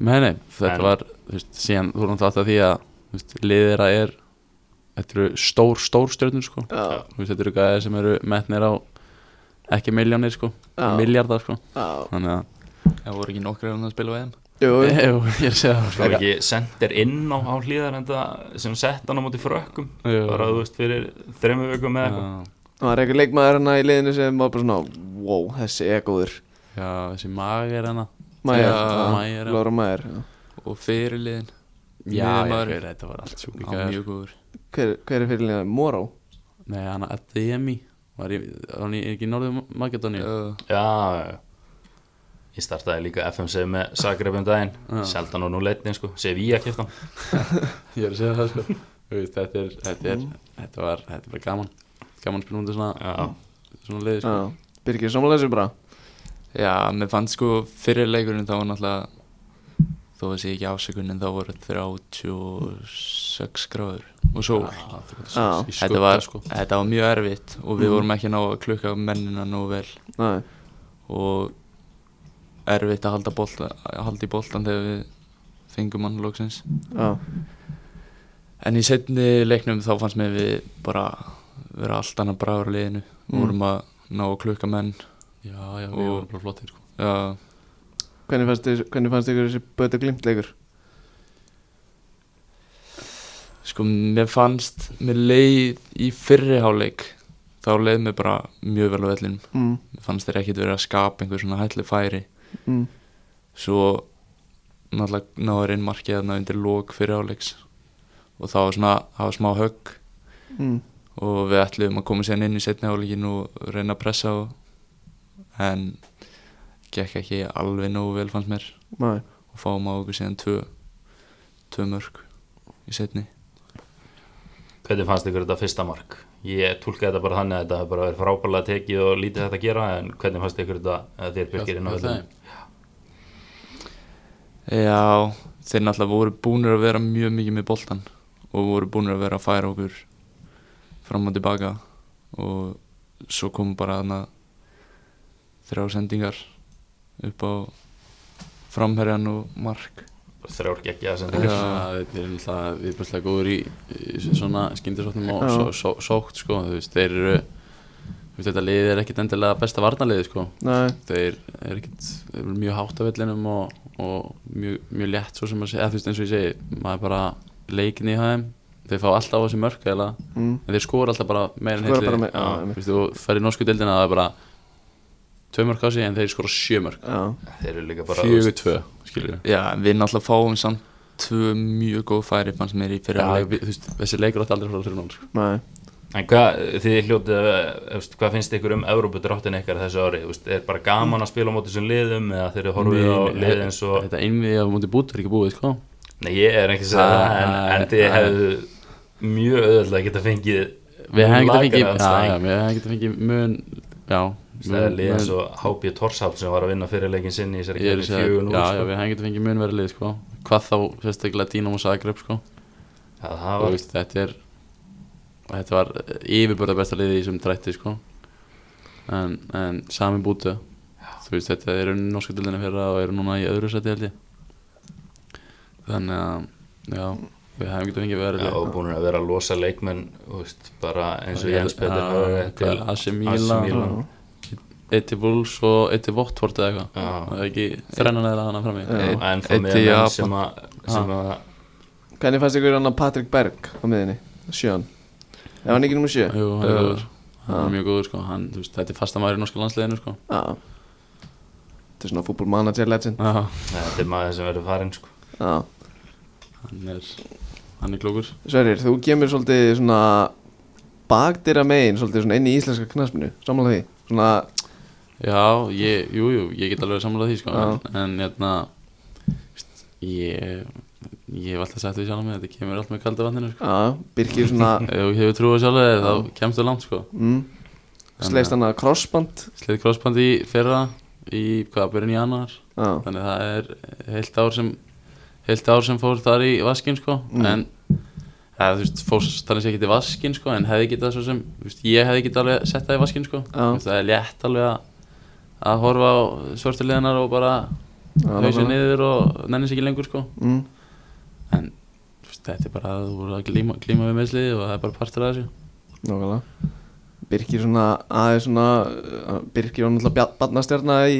Speaker 3: nei nei þetta
Speaker 2: En-
Speaker 3: var, þú veist, síðan þú erum alltaf átt að því að þú veist, liðir að er þetta eru stór, stór stjórnur sko
Speaker 1: já,
Speaker 3: Þú veist, þetta eru gæðir sem eru metnir á ekki miljónir sko,
Speaker 1: Já.
Speaker 3: miljardar sko
Speaker 1: já
Speaker 3: þannig að,
Speaker 4: Það voru ekki nokkra hérna að spila á EM
Speaker 1: Jú,
Speaker 3: Jú, ég er að segja það sko.
Speaker 2: Það var ekki sendir inn á, á hlýðar enda sem sett hann á móti frökkum
Speaker 3: Jú.
Speaker 2: Það var að þú veist fyrir þremmu vikum með eitthvað
Speaker 3: Já,
Speaker 1: það var eitthvað leikmaður hana í liðinu sem var bara svona Wow, þessi er góður
Speaker 3: já, þessi hérna. magi er hana
Speaker 1: Mæjar,
Speaker 4: Já,
Speaker 3: Mayer, já.
Speaker 1: Laura Mæjar já.
Speaker 4: Og fyrirliðin
Speaker 3: Já,
Speaker 4: Miðjumaður.
Speaker 3: ég veit, þetta var allt sjúk
Speaker 4: Hann var mjög góður
Speaker 1: hver, hver er fyrirlega? Moró?
Speaker 3: Nei, hann að Ademi Var ég, hann er ekki í Norður Makedóni
Speaker 4: Já,
Speaker 2: Já, já Ég startaði líka FMC með Zagreb um daginn
Speaker 3: Já.
Speaker 2: Seldan og nú leitni sko, Sevilla kefti hann
Speaker 3: Ég er að segja það sko Þú veist, þetta er, þetta er, þetta var, þetta er bara gaman Gaman að spila um þetta svona,
Speaker 2: Já,
Speaker 3: svona liði sko
Speaker 1: Já, Birgir Samuel þessu bara
Speaker 4: já mér fannst sko fyrir leikurinn þá var náttúrulega þó að sé ekki ásökunin þá voru 36 gráður og sól
Speaker 3: Já, þú veist,
Speaker 1: Já.
Speaker 3: í
Speaker 4: þetta, var,
Speaker 3: skugga, sko
Speaker 4: þetta var mjög erfitt og við vorum ekki að ná að klukka mennina nú vel
Speaker 1: Nei,
Speaker 4: og erfitt að halda, bolta, að halda í boltan þegar við fengum hann loksins
Speaker 1: já,
Speaker 4: En í setni leiknum þá fannst mér við bara vera allt annað bráður liðinu
Speaker 1: Mm.
Speaker 4: mm. vorum að ná að klukka menn
Speaker 3: Já, já,
Speaker 4: Og-
Speaker 3: við vorum bara flottir sko
Speaker 4: já,
Speaker 1: hvernig fannst, þið- hvernig fannst ykkur þessi Böta glimtleikur?
Speaker 4: sko mér fannst mér leið í fyrri háleik þá leið mér bara mjög vel á vellinum
Speaker 1: Mm,
Speaker 4: mér fannst þeir ekkit verið að skapa einhver svona hætli færi
Speaker 1: mm,
Speaker 4: svo náttúrulega náður inn markið þarna undir lók fyrir háleiks og þá var svona, það var smá högg
Speaker 1: mm,
Speaker 4: og við ætluðum að koma sérna inn í setni áleikin og reyna að pressa og, en gekk ekki alveg nógu vel fannst mér
Speaker 1: nei,
Speaker 4: og fáum á okkur síðan tvö, tvö mörg í setni
Speaker 2: Hvernig fannst ykkur þetta fyrsta mark? Ég tólkaði þetta bara þannig að þetta hefur bara verið frábælega tekið og lítið þetta að gera en hvernig fannst ykkur þetta að þér byrkir inn á
Speaker 3: Hjá- hjá
Speaker 2: þetta?
Speaker 3: þeim.
Speaker 4: Já, þeir náttúrulega voru búnir að vera mjög mikið með boltan og voru búnir að vera að færa okkur fram og tilbaka og svo kom bara þarna þrjá sendingar upp á framherjan og mark
Speaker 2: Bara Þrjár geggja að senda
Speaker 4: Já.
Speaker 2: ykkur
Speaker 3: Já, þetta er náttúrulega viðbærslega góður í, í svona skyndisóknum og
Speaker 1: Já.
Speaker 3: só, só, sókt sko, þú veist, þeir eru þú veist, þetta liðið er ekkit endilega besta varnarliðið sko,
Speaker 1: nei,
Speaker 3: þeir eru ekkit þeir eru mjög hátt af vellinum og, og mjög, mjög létt svo sem að segja, eða þú veist eins og ég segi maður bara leikin í hæðum þeir fá alltaf á þessi mörk eða
Speaker 1: mm,
Speaker 3: en þeir skora alltaf bara meira en
Speaker 1: Skora bara
Speaker 3: heilt
Speaker 1: meira, já,
Speaker 3: lið.
Speaker 1: einmitt.
Speaker 3: þú veist, þú fer í norsku deildina það er bara tvö mörk á sig en þeir skora sjö mörk
Speaker 1: já,
Speaker 2: Þeir eru líka bara þú
Speaker 3: fjögur
Speaker 2: veist,
Speaker 3: tvö, skilur
Speaker 4: Já, en við náttúrulega fáum samt tvö mjög góð færi fannst mér í fyrir
Speaker 3: Já,
Speaker 4: leik
Speaker 3: við, þú veist, þessi leikur átti aldrei að fara 3-0 sko.
Speaker 1: nei
Speaker 2: En hvað, þið hljótið, eftir, hvað finnst ykkur um Evrópudráttin ykkar þessu ári? Þú veist, er bara gaman að spila á móti sem liðum eða þeir eru horfið á
Speaker 3: Nei,
Speaker 2: lið eins og
Speaker 3: Þetta einmiði á móti bútur ekki búið sko
Speaker 2: Nei, ég er ekki að segja
Speaker 3: Ah,
Speaker 2: það en, en þið
Speaker 3: ah.
Speaker 2: hefðu mjög auðvitað geta fengið
Speaker 3: Við hefum getað fengið
Speaker 2: lagari
Speaker 3: Já, já,
Speaker 2: andstæðing.
Speaker 3: við hefum getað fengið mun Já
Speaker 2: Það er lið eins og HB Torshátt sem var að vinna fyrirleikin sinni í sér
Speaker 3: Ég er
Speaker 2: ekki
Speaker 3: að segja,
Speaker 2: fjögur sko. nú
Speaker 3: já, já, við hefum getað fengið mun verið lið sko Hvað þá, sérstaklega Dínamo Zagreb sko
Speaker 2: Það
Speaker 3: Þú
Speaker 2: var
Speaker 3: veist, þetta er Þetta var yfirbörða besta liði í þessum drætti sko En, en sami bútu Þú veist, þetta eru norsku dildinni fyrra og eru núna í öðru sæti held ég Þannig að, já, við hefum getað fengið verið
Speaker 2: já,
Speaker 3: lið
Speaker 2: og búin að vera að losa leikmenn þú veist, bara eins og
Speaker 3: Já,
Speaker 2: Jens Petter
Speaker 3: já,
Speaker 2: Hörg til
Speaker 3: hvað, AC
Speaker 2: AC
Speaker 3: Milan.
Speaker 2: Milan.
Speaker 3: Eitt til Wolves og eitt til Votvort eða eitthvað
Speaker 2: Já.
Speaker 3: Það er ekki þrennan eða hana fram í
Speaker 1: Já.
Speaker 2: og enn þá
Speaker 4: Eitt
Speaker 2: með
Speaker 4: í
Speaker 2: menn
Speaker 4: Japan.
Speaker 2: sem að sem að
Speaker 1: Hvernig fannst ykkur hann að Patrik Berg á miðinni? Sjön Er hann ekki nummer sjö?
Speaker 3: Jú, hann er
Speaker 4: Já.
Speaker 3: góður Hann
Speaker 1: Já.
Speaker 3: er mjög góður sko hann, þú veist, Þetta er fasta maður í norska landsliðinu sko
Speaker 1: Já Þetta er svona fútbol manager legend
Speaker 3: Já,
Speaker 2: þetta er maður sem verður farinn sko.
Speaker 1: Já
Speaker 3: hann er Hann er klókur
Speaker 1: Sverir, þú kemur svolítið svona Bagdýra megin, svolítið svona inn í íslenska knaspinu Sammála því Svona
Speaker 3: Já, ég, jú, jú, ég get alveg samlega því sko,
Speaker 1: Já.
Speaker 3: en, en hérna veist, ég ég hef alltaf sagt því sjálf mig, þetta kemur allt með kalda vatninu sko.
Speaker 1: Já, Birkir svona
Speaker 3: ef þú hefur trúið sjálf þig, þá kemst þú langt sko.
Speaker 1: mm, Sleist hann að crossband
Speaker 3: Sleið crossband í fyrra í, hvað, byrjun í januar
Speaker 1: Já,
Speaker 3: þannig að það er heilt ár sem heilt ár sem fór þar í vaskinn sko,
Speaker 1: Mm.
Speaker 3: en eða, þú veist, fór þannig sé ekki í vaskinn sko, en hefði getað svo sem, þú veist, ég hefði getað alveg sett það í vaskinn sko,
Speaker 1: Já.
Speaker 3: Þú veist, það er létt alveg að að horfa á svörtu liðanar og bara
Speaker 1: já, nákvæmlega.
Speaker 3: hausin niður og nennis ekki lengur sko
Speaker 1: mm,
Speaker 3: en þú veist, þetta er bara að þú voru að glíma, glíma við meðslið og það er bara partur af þessu
Speaker 1: Nókala Birkir svona aðeins svona uh, Birkir var náttúrulega barnastjarna í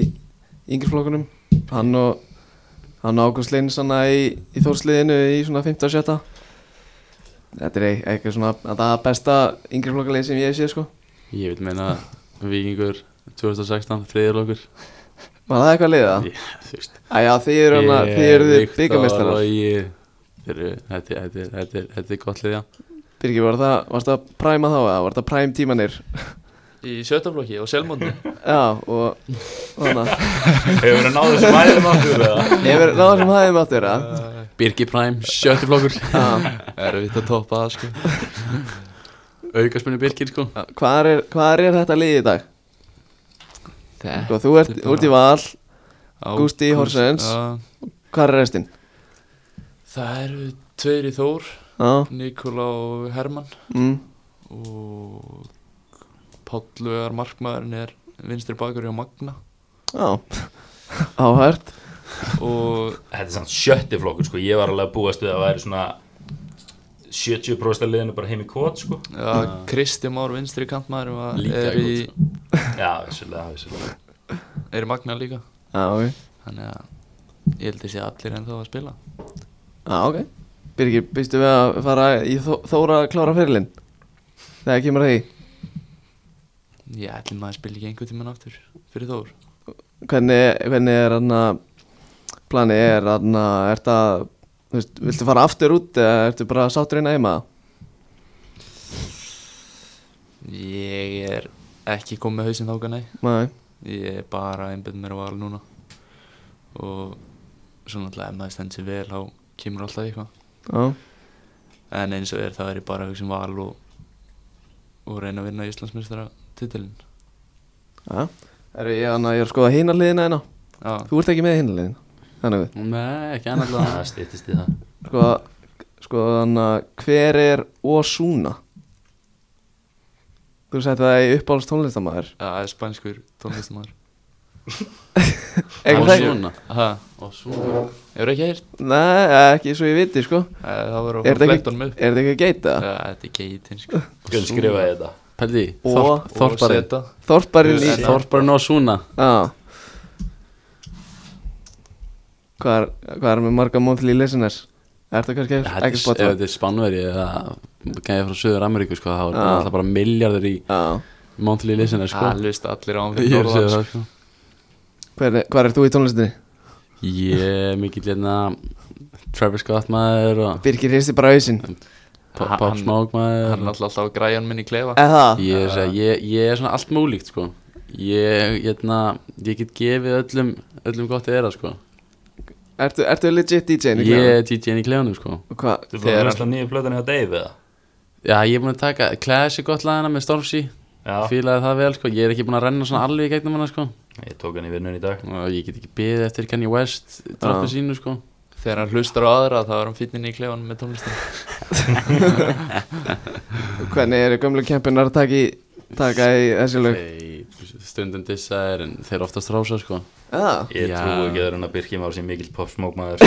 Speaker 1: yngirflokkunum Hann og hann og Ágúst Leins hann í, í þórsliðinu í svona 15 og 17 Þetta er eit- eitthvað svona það besta yngirflokkulegin sem ég sé sko
Speaker 3: ég vil meina vikingur 2016, þriðurlokkur
Speaker 1: Var það eitthvað liða?
Speaker 3: Ég- þú veist
Speaker 1: Æja, þið eru hann að þið eru þið byggamestrar
Speaker 3: byggamestrar Þetta er- þetta er- þetta er- þetta er gott lið, já
Speaker 1: Birgir, var það, varst það að præma þá eða var það præm tímanir?
Speaker 4: Í sjötaflokki og selmóndi
Speaker 1: Já, og þannig
Speaker 2: Hefur verið náðu þessu mælum aftur eða?
Speaker 1: Ég verið náður sem hæðum áttur, að
Speaker 3: Birgi Prime, sjötti flokkur
Speaker 4: Erfitt að toppa það sko
Speaker 3: Aukaspunni Birgir sko
Speaker 1: Hvar er, hvar er þetta lið í dag? Sko, þú ert
Speaker 4: Þetta er bara-
Speaker 1: út í val,
Speaker 4: Á-
Speaker 1: Gústi
Speaker 4: Gúst-
Speaker 1: Horsens.
Speaker 4: Já.
Speaker 1: hvar er restinn?
Speaker 4: Það eru tveir í Þór
Speaker 1: Já,
Speaker 4: Nikola og Herman
Speaker 1: mm,
Speaker 4: og Pállugar markmaðurinn er vinstri bakur hjá Magna
Speaker 1: já Áhært
Speaker 4: og
Speaker 2: Þetta er samt sjötti flokkur sko, ég var alveg að búast við að væri svona 70% af liðinu bara heim í kvot sko
Speaker 4: ja, Kristi Már vinstri kantmaður var-
Speaker 3: Líka
Speaker 4: er í,
Speaker 2: Já, vissulega, vissulega
Speaker 4: er í Magna líka
Speaker 1: Já, ok,
Speaker 4: þannig að ég held að sé allir ennþá að spila
Speaker 1: já, ok Birgir, býstu við að fara í þó, Þóra að klára fyrirlinn? Þegar kemur að því
Speaker 4: ég ætlum maður að spila ekki einhvern tíman aftur fyrir Þór
Speaker 1: hvernig, hvernig er hann planið er hann að er það þú veist, viltu fara aftur út eða ertu bara sáttur inn heima
Speaker 4: ég er ekki komið með hausinn þáka nei
Speaker 1: nei,
Speaker 4: ég er bara einbjöð mér á val núna og svona alltaf ef maður stendur sér vel þá kemur alltaf eitthvað
Speaker 1: já,
Speaker 4: En eins og er það er ég bara að hugsa um val og, og reyna að vinna Íslandsmeistara titilin.
Speaker 1: já er ég, hann, ég er að skoða hina liðina hérna
Speaker 4: Já,
Speaker 1: þú ert ekki með hina liðina þannig við
Speaker 3: Nei, ekki annað
Speaker 2: Það
Speaker 3: allavega.
Speaker 2: stýttist í það
Speaker 1: sko, sko hann hver er Osuna þú sett það í uppáhalds tónlistamæður
Speaker 4: það er spænskur tónlistamæður.
Speaker 1: ekki það
Speaker 3: Osuna.
Speaker 4: Ha,
Speaker 3: Osuna.
Speaker 4: hefur ekki heyrt?
Speaker 1: nei, ekki svo ég viti sko
Speaker 4: Eh, Það var að
Speaker 1: er þetta
Speaker 4: fletta
Speaker 1: ekki,
Speaker 4: honum upp.
Speaker 1: er þetta ekki að geita
Speaker 4: Eh, Þetta er geitin, sko.
Speaker 2: Gönn skrifaði þetta
Speaker 3: Pældi, því,
Speaker 1: Og-
Speaker 3: Þorp- Þorparinn Eh,
Speaker 4: Seta.
Speaker 1: þorparinn í
Speaker 2: Seta.
Speaker 3: Þorparinn og Osuna
Speaker 1: Já Hvað er, hvað er með marga monthly listeners? Er það kannski
Speaker 3: Þetta
Speaker 1: ekki
Speaker 3: er- Ef
Speaker 1: spotta?
Speaker 3: þetta er Spánveri eða gæði frá Suður Ameríku sko, þá er
Speaker 1: Já.
Speaker 3: alltaf bara miljardir í
Speaker 1: Já
Speaker 3: monthly listener sko
Speaker 4: Það lust allir á hann
Speaker 3: Ég
Speaker 4: fyrir
Speaker 3: er að segja
Speaker 4: Norðlands.
Speaker 3: það sko
Speaker 1: Hver, Hvað er þú í tónlistinni?
Speaker 3: Ég er mikill hérna Travis Scott maður og
Speaker 1: Birgir hristi bara hausinn
Speaker 3: Pop,
Speaker 4: Ha-
Speaker 3: pop
Speaker 4: hann-
Speaker 3: Smoke
Speaker 4: Það er
Speaker 3: maður
Speaker 4: náttúrulega alltaf á græjan minn í klefa.
Speaker 1: Eða það?
Speaker 3: ég, er að segja, ég, ég er svona allt múlíkt sko Ég, hérna, ég get gefið öllum, öllum gott eða sko
Speaker 1: Ertu, ertu legit DJ? -n í
Speaker 3: Ég
Speaker 1: klefanum?
Speaker 3: er DJ-in í klefanum sko
Speaker 1: Og Hvað?
Speaker 2: Þú búið að hlusta nýju plötunni á Dave eða?
Speaker 3: Já, ég er búin að taka Clash er gott lagina með Stormzy
Speaker 2: Já,
Speaker 3: Fýlaði það vel sko, ég er ekki búin að renna svona alveg í gegnum hana sko
Speaker 2: ég tók hann í vinnun í dag
Speaker 3: Og ég get ekki beðið eftir Kanye West droppu sínu sko
Speaker 4: Þegar hann hlustar á aðra þá er hann fínnin í klefan með tónlistin.
Speaker 1: Hvernig eru gömlu kempunar að taka í, taka í þessi lög?
Speaker 3: Þeir stundum dissa er en þeir oftast rása sko
Speaker 1: Eða?
Speaker 2: Ég
Speaker 3: Já.
Speaker 2: trúi ekki öðrun að Birkjum á sér mikill popsmókmaður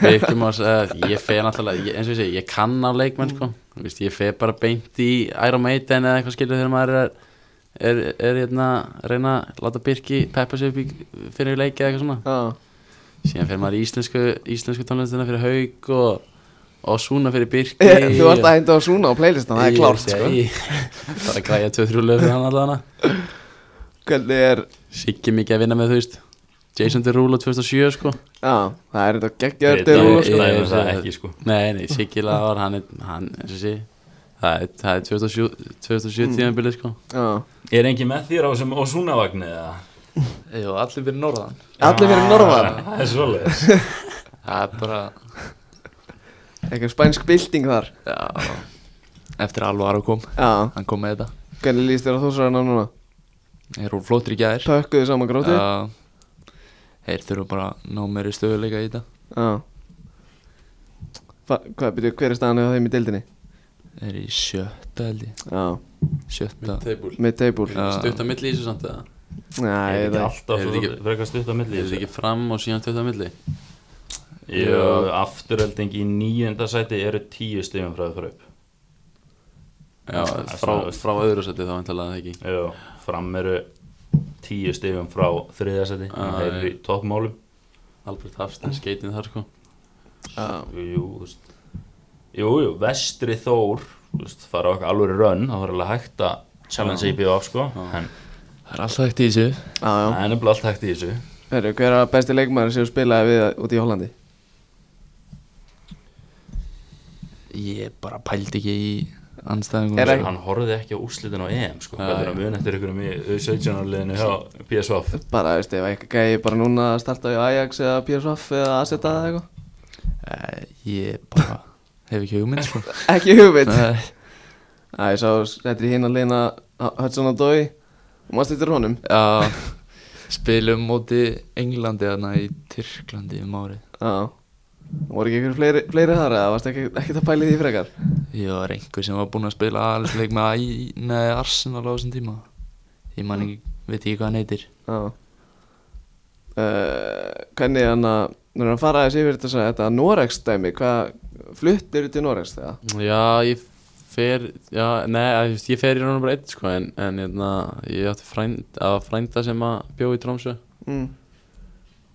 Speaker 3: Byggjum að segja, ég fer náttúrulega, ég, eins og ég segi, ég kann á leikmenn sko Þú veist, Ég fer bara beint í Iron Maiden eða eitthvað skilur þegar maður er, er, er hérna, að reyna að láta Birki peppa sig upp í, fyrir leiki eða eitthvað svona
Speaker 1: Já
Speaker 3: Síðan fer maður í íslensku, íslensku tónlistina fyrir Hauk og, og Súna fyrir Birki
Speaker 1: Þú ert að henda á Súna á playlistan, það er klárt sko
Speaker 3: sko Það er að græja 2-3 lög fyrir hann allavega
Speaker 1: Hvernig er
Speaker 3: Siggi mikið að vinna með þú veist Jason Derulo 2007 sko
Speaker 1: Já, það er þetta geggjaður
Speaker 2: Þetta
Speaker 1: dögum
Speaker 3: Derulo,
Speaker 2: er
Speaker 3: sko.
Speaker 2: dæmi það ekki sko
Speaker 3: Nei, nei, Siggi lagar, hann er, hann, eins og sé Það er, það er 2007 2007 tíðanbilið sko
Speaker 1: Já
Speaker 2: Er engin með þér á sem Osuna vagnið eða?
Speaker 4: Jú, allir fyrir norðan
Speaker 1: Allir fyrir norðan
Speaker 2: Það er svolítið
Speaker 4: Það er bara,
Speaker 1: Eitthvað spænsk bylting þar
Speaker 4: já Eftir að Alvaro kom,
Speaker 1: Já,
Speaker 4: hann kom með þetta
Speaker 1: hvernig líst þér á þósarana núna?
Speaker 4: Þeir eru flóttir í gær
Speaker 1: Pökkuðu saman grótið?
Speaker 4: Já. Þeir þurfa bara að ná meiri stöðuleika í þetta
Speaker 1: Já Hva, Hvað byrju, hver er staðan á þeim í deildinni?
Speaker 4: Þeir eru í sjötta held ég
Speaker 1: Já,
Speaker 4: Sjötta
Speaker 3: Midtable
Speaker 1: með teibúl
Speaker 4: Já.
Speaker 3: Stutt á milli í þessu samt eða
Speaker 1: Nei,
Speaker 2: Er
Speaker 1: ég
Speaker 2: þetta
Speaker 1: veit
Speaker 2: alltaf
Speaker 3: Er þetta
Speaker 2: svo
Speaker 3: ekki-
Speaker 2: frekar stutt á
Speaker 3: Er
Speaker 2: milli í
Speaker 3: þetta
Speaker 2: þessu?
Speaker 3: ekki fram og síðan stutt á milli?
Speaker 2: Jú, afturölding í nýjönda sæti eru tíu stegum frá það fyrir upp
Speaker 3: Já,
Speaker 2: Það er
Speaker 3: frá,
Speaker 2: svona-
Speaker 3: frá öðru seti þá vantilega ekki
Speaker 2: Jú, fram eru tíu stegum frá þriða sæti
Speaker 3: Ah,
Speaker 2: Það eru í toppmálum
Speaker 3: Albert Hafstein skeitin þar sko
Speaker 1: það
Speaker 2: Jú, þú veist Jú, jú, vestri þór Þú veist, fara okkar alveg rönn Það var alveg hægt að challenge IPV af sko En
Speaker 4: Það er alltaf ekkert í þessu
Speaker 1: Já, já
Speaker 2: það er nefnilega allt hægt í þessu
Speaker 1: Hörru, hver er besti leikmaður sem þú spilaði við út í Hollandi?
Speaker 4: Ég bara pældi ekki í anstæðingum
Speaker 1: Er
Speaker 2: Nei.
Speaker 1: ekki-
Speaker 2: Hann horfði ekki á úrslitin á EM sko
Speaker 3: Já,
Speaker 2: Það er
Speaker 3: já.
Speaker 2: að muna eftir einhverjum í U17-liðinu hjá PSV
Speaker 1: Bara, veist, ef eitthvað gæði bara núna að starta í Ajax eða PSV eða Aseta eða eitthvað
Speaker 4: Eh, Ég bara hef ekki hugmynd sko Eh,
Speaker 1: Ekki hugveit
Speaker 4: Nei.
Speaker 1: Já, ég sá settir í hinn að leina Hudson og Dói og maður stýttir honum
Speaker 4: Já, spilum móti Englandi þarna í Tyrklandi um árið
Speaker 1: Já voru ekki ykkur fleiri, fleiri þar eða varst ekki, ekki að pæli því frekar
Speaker 4: Ég var einhver sem var búinn að spila aðeinsleik með Æ- nei, Arsenal á þessum tíma Ég man ekki, veit ekki hvað hann heitir
Speaker 1: Já uh, Hvernig hann að Nú erum að fara aðeins yfir þess að þetta Norex dæmi Hvað fluttir til Norex þegar?
Speaker 3: Já, ég fer já, Nei, að, þú veist, ég fer í raunum bara einn sko En, en hérna, ég átti frænd, að frænda sem að bjó í Tromsö
Speaker 1: Mm.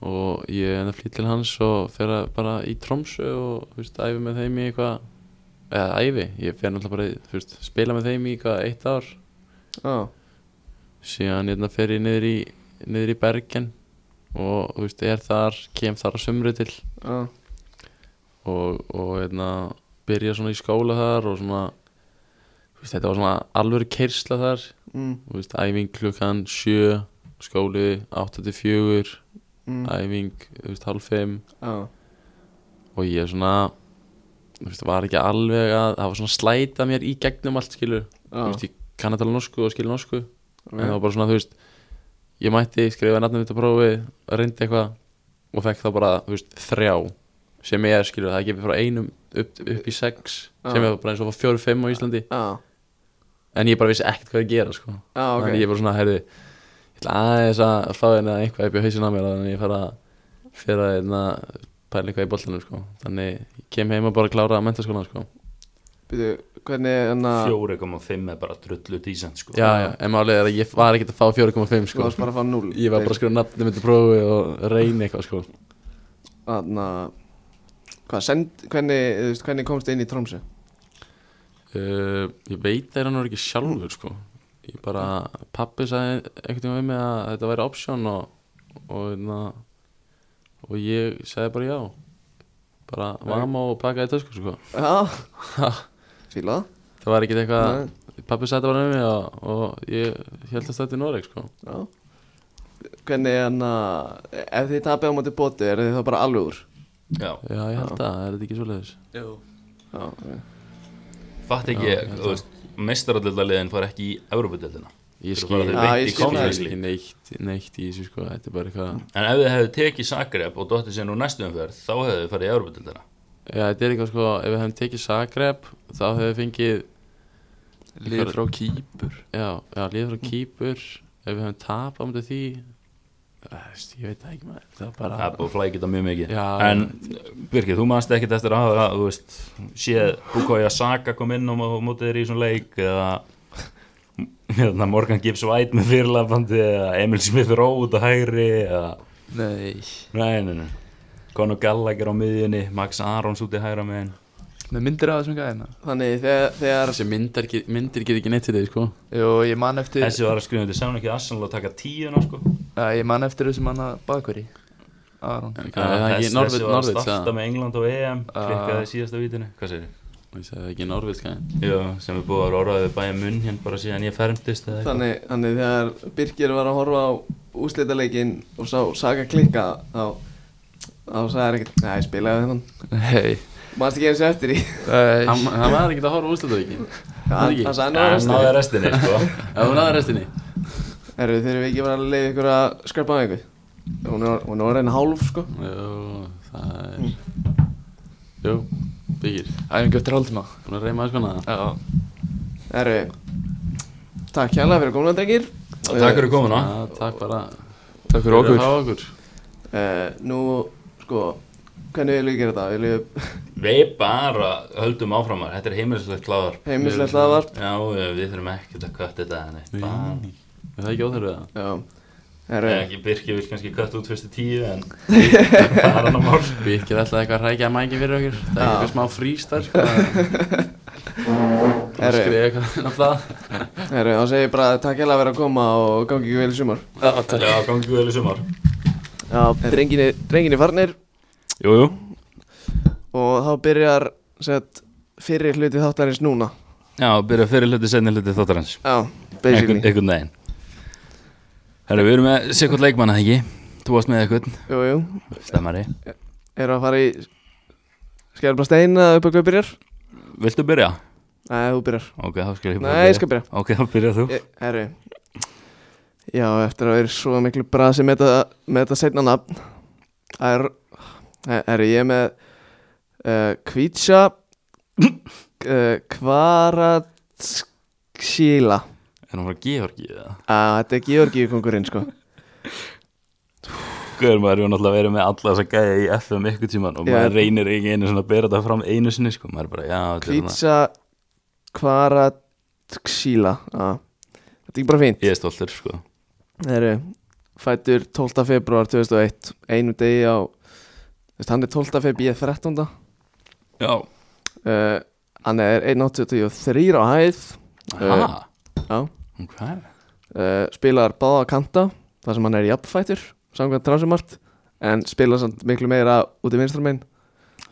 Speaker 3: Og ég enda flýtt til hans og fer að bara í Tromsö Og þú veist, æfi með þeim í eitthvað Eða æfi, ég fer náttúrulega bara í, þú veist, Spila með þeim í eitthvað eitt ár
Speaker 1: Já,
Speaker 3: Síðan hérna fer ég niður í, niður í Bergen Og þú veist, er þar, kem þar að sumri til
Speaker 1: já,
Speaker 3: og, og hérna, byrja svona í skóla þar og svona þú veist, þetta var svona alvöru keirsla þar
Speaker 1: mm,
Speaker 3: þú veist, æfing klukkan sjö skóli 8-4
Speaker 1: mm,
Speaker 3: æfing þú veist, halv 5
Speaker 1: já,
Speaker 3: og ég svona þú veist, var ekki alveg að það var svona slæta mér í gegnum allt skilur þú
Speaker 1: já,
Speaker 3: veist, ég kann að tala norsku og skilur norsku en það
Speaker 1: ok,
Speaker 3: var bara svona, þú veist ég mætti skrifa nafnum mitt á prófi reyndi eitthvað og fekk þá bara, þú veist, þrjá sem ég er, skilur, það er gefið frá einum upp, upp í sex, sem
Speaker 1: Já.
Speaker 3: er bara eins og fjóru-fimm á Íslandi,
Speaker 1: já,
Speaker 3: en ég bara vissi ekkert hvað ég gera, sko
Speaker 1: já, ok
Speaker 3: þannig ég bara svona, herði ég ætla aðeins að fá hérna eitthvað upp í hausinn á mér þannig ég fara fyrir að hérna, pæla eitthvað í boltanum, sko þannig ég kem heim og bara klára að mentaskólan, sko
Speaker 1: Býtu, hvernig hérna- hann að
Speaker 2: 4,5 er bara drullu dísent sko
Speaker 3: já, já, en málið er að ég var ekkert að fá 4,5,
Speaker 1: Þú
Speaker 3: sko
Speaker 1: varst bara að fá 0
Speaker 3: ég var bara að skrifa nafnum mitt á prófi og reyni eitthvað, sko
Speaker 1: Þannig að Hvað, send, hvernig, þú veist, hvernig komst inn í Tromsö?
Speaker 3: Uh, ég veit það er hann ekki sjálfur sko Ég bara, pappi sagði einhvern tíma við mig að þetta væri option og, og, na, og ég sagði bara já bara vama og pakkaði tösku sko
Speaker 1: Já Fílað
Speaker 3: Það var ekkert
Speaker 1: Nei.
Speaker 3: eitthvað, pappi sagði þetta bara við mig og, og ég held að þetta í Noreg sko
Speaker 1: Já Hvernig hann að Ef þið tapið á móti bóti er þið þá bara alveg úr
Speaker 2: Já.
Speaker 3: Já, ég held að, er þetta ekki svoleiðis?
Speaker 4: Jú
Speaker 1: Já, ok
Speaker 2: Fatt ekki,
Speaker 3: Já, ég held
Speaker 2: þú veist, meistarallitaliðin fara ekki í Európa-deltina
Speaker 3: Ég
Speaker 2: Þú bara
Speaker 3: skil,
Speaker 2: þau
Speaker 1: Já,
Speaker 2: beint
Speaker 1: ég skil það.
Speaker 2: í
Speaker 3: ég
Speaker 2: Conference
Speaker 3: skil
Speaker 2: League.
Speaker 3: ekki neitt, neitt í þessu sko Þetta er bara eitthvað
Speaker 2: En ef þið hefðu tekið Zagreb og dóttið sér nú næstu umferð þá hefðu þið farið í Európa-deltina
Speaker 3: Já, þetta er eitthvað sko, ef við hefum tekið Zagreb þá hefum við fengið
Speaker 4: Lið frá Kýpur
Speaker 3: Já, já, lið frá Kýpur ef við höfum tap á mútið því Æ, veist, ég veit það ekki maður það er
Speaker 2: Það
Speaker 3: bara,
Speaker 2: er búið að flækja þetta mjög mikið
Speaker 3: Já.
Speaker 2: En Birgir, þú manst ekkert eftir að hafa þú veist, séð Bukoya Saka kom inn og mó- mótið þér í svona leik eða hérna, Morgan Gibbs White með fyrirlafandi eða Emil Smith Rowe út að hægri eða
Speaker 4: Nei
Speaker 2: Nei, nei, nei Conor Gallagher á miðjunni, Max Arons út í hægra megin
Speaker 4: Með myndir af þessum gæðina
Speaker 1: Þannig þegar, þegar
Speaker 3: þessi myndar, get- myndir get ekki neitt til þig sko
Speaker 4: Jú, ég man eftir
Speaker 2: Þessi var að skrifa þetta saman ekki Arsenal að taka tíuna sko
Speaker 4: Já, ég man eftir þessum manna bakveri Aron
Speaker 3: Hvað, er það ekki
Speaker 2: Þessi-
Speaker 3: Norvit,
Speaker 2: Þessi var að
Speaker 3: Norvit
Speaker 2: starta með England og EM
Speaker 4: Ah.
Speaker 2: klikkaði í síðasta vítinu, hvað segir
Speaker 3: Ég segi það ekki norviðskæðin
Speaker 2: Já, sem er búið að vera orðaðið bæja munn hérna bara síðan ég fermdist eða eitthvað.
Speaker 1: Þannig, þannig þegar Birgir var að horfa á úslitaleikin og sá Saga klikka þá, þá sagði hann ekkert Nei, ég spilaði þennan
Speaker 4: Hei
Speaker 1: Manst ekki eins og eftir í
Speaker 3: Hann
Speaker 4: Nei,
Speaker 3: hann var ekkert að horfa úrslutavíkin
Speaker 1: Hann
Speaker 3: ekki.
Speaker 1: hann sagði
Speaker 2: Þannig að
Speaker 1: náður
Speaker 2: hann
Speaker 1: restur
Speaker 2: náði restinni, sko.
Speaker 3: Það var aðra restinni
Speaker 1: Herru, þurfum við ekki bara að leiða ykkur að skrapa á ykkur Hún er, hún er orðin hálf, sko
Speaker 3: Jú, það er Jú, byggir
Speaker 4: æfingu Mm. eftir hálftíma
Speaker 3: Búin að reyma að skona það
Speaker 4: Já,
Speaker 1: Herru, takk hjálpa fyrir komuna, drengir
Speaker 2: Takk fyrir komuna.
Speaker 3: Já, Takk bara
Speaker 4: takk fyrir okkur
Speaker 3: Takk okkur
Speaker 1: Eh, Nú, sko, hvernig viljum við gera þetta? Viljum við
Speaker 2: Við bara höldum áfram að þetta er heimilislegt kláðar.
Speaker 1: heimislegt hlaðvarp?
Speaker 2: Já, við þurfum ekkert að kött þetta henni. Bara.
Speaker 3: Nei, Er það ekki óþörfið það?
Speaker 1: Já,
Speaker 2: Ég
Speaker 1: herru
Speaker 2: er ekki Birki vil kannski kött út fyrstu tíu en það er annar mál.
Speaker 3: Byggir alltaf eitthvað að rækja mæki fyrir okkur Það er
Speaker 1: Já.
Speaker 3: eitthvað smá frístar sko að- að
Speaker 1: Herru.
Speaker 3: Skrifa eitthvað um inn á blað
Speaker 1: Herru, þá segir ég bara takk hella fyrir að koma og gangi ekki vel í sumar.
Speaker 2: Já, gangi guðið í sumar.
Speaker 1: Já, drenginni, drenginni farnir
Speaker 2: Jú, jú.
Speaker 1: og þá byrjar sett, fyrri hluti þáttarins núna.
Speaker 2: Já, byrja fyrir hluti, senni hluti þáttarans.
Speaker 1: Já, basically.
Speaker 2: Einhvern veginn. Herru, við erum með sikkert leikmann að ekki. Þú varst með eitthvað,
Speaker 1: Jú, jú,
Speaker 2: stemmari.
Speaker 1: eru að fara í skerfla steina upp að hvað byrjar?
Speaker 2: Viltu byrja?
Speaker 1: Nei, þú byrjar.
Speaker 2: Ok, þá skal ég bara
Speaker 1: Nei, ég skal byrja.
Speaker 2: Ok, þá byrja þú.
Speaker 1: Ég- Herru, já, eftir að vera í svo miklu brasi með þetta, með þetta setna nafn. Það er, herru, ég er með uh, Kvítsa uh, Kvaratskíla.
Speaker 2: Er hún frá Georgi eða?
Speaker 1: að þetta er Georgíu kongurinn sko
Speaker 2: Guður maður hefur náttúrulega verið með alla þessa gæja í FM ykkur tíman og
Speaker 1: Já.
Speaker 2: maður reynir ekki einu svona að bera þetta fram einu sinni sko, maður er bara, já, þetta er þarna-
Speaker 1: Kvítsa Kvaratxíla Já. Þetta er ekki bara fínt
Speaker 2: ég er stoltur sko.
Speaker 1: Það eru fættur 12. februar 2001 einu degi á veist, hann er 12. februar, ég er 13.
Speaker 2: Já,
Speaker 1: Uh, hann er 1.83 á hæð
Speaker 2: aha,
Speaker 1: Eh, já,
Speaker 2: ok,
Speaker 1: uh, spilar báða kanta þar sem hann er jafnfættur samkvæmt transumart en spilar samt miklu meira út í vinstramenn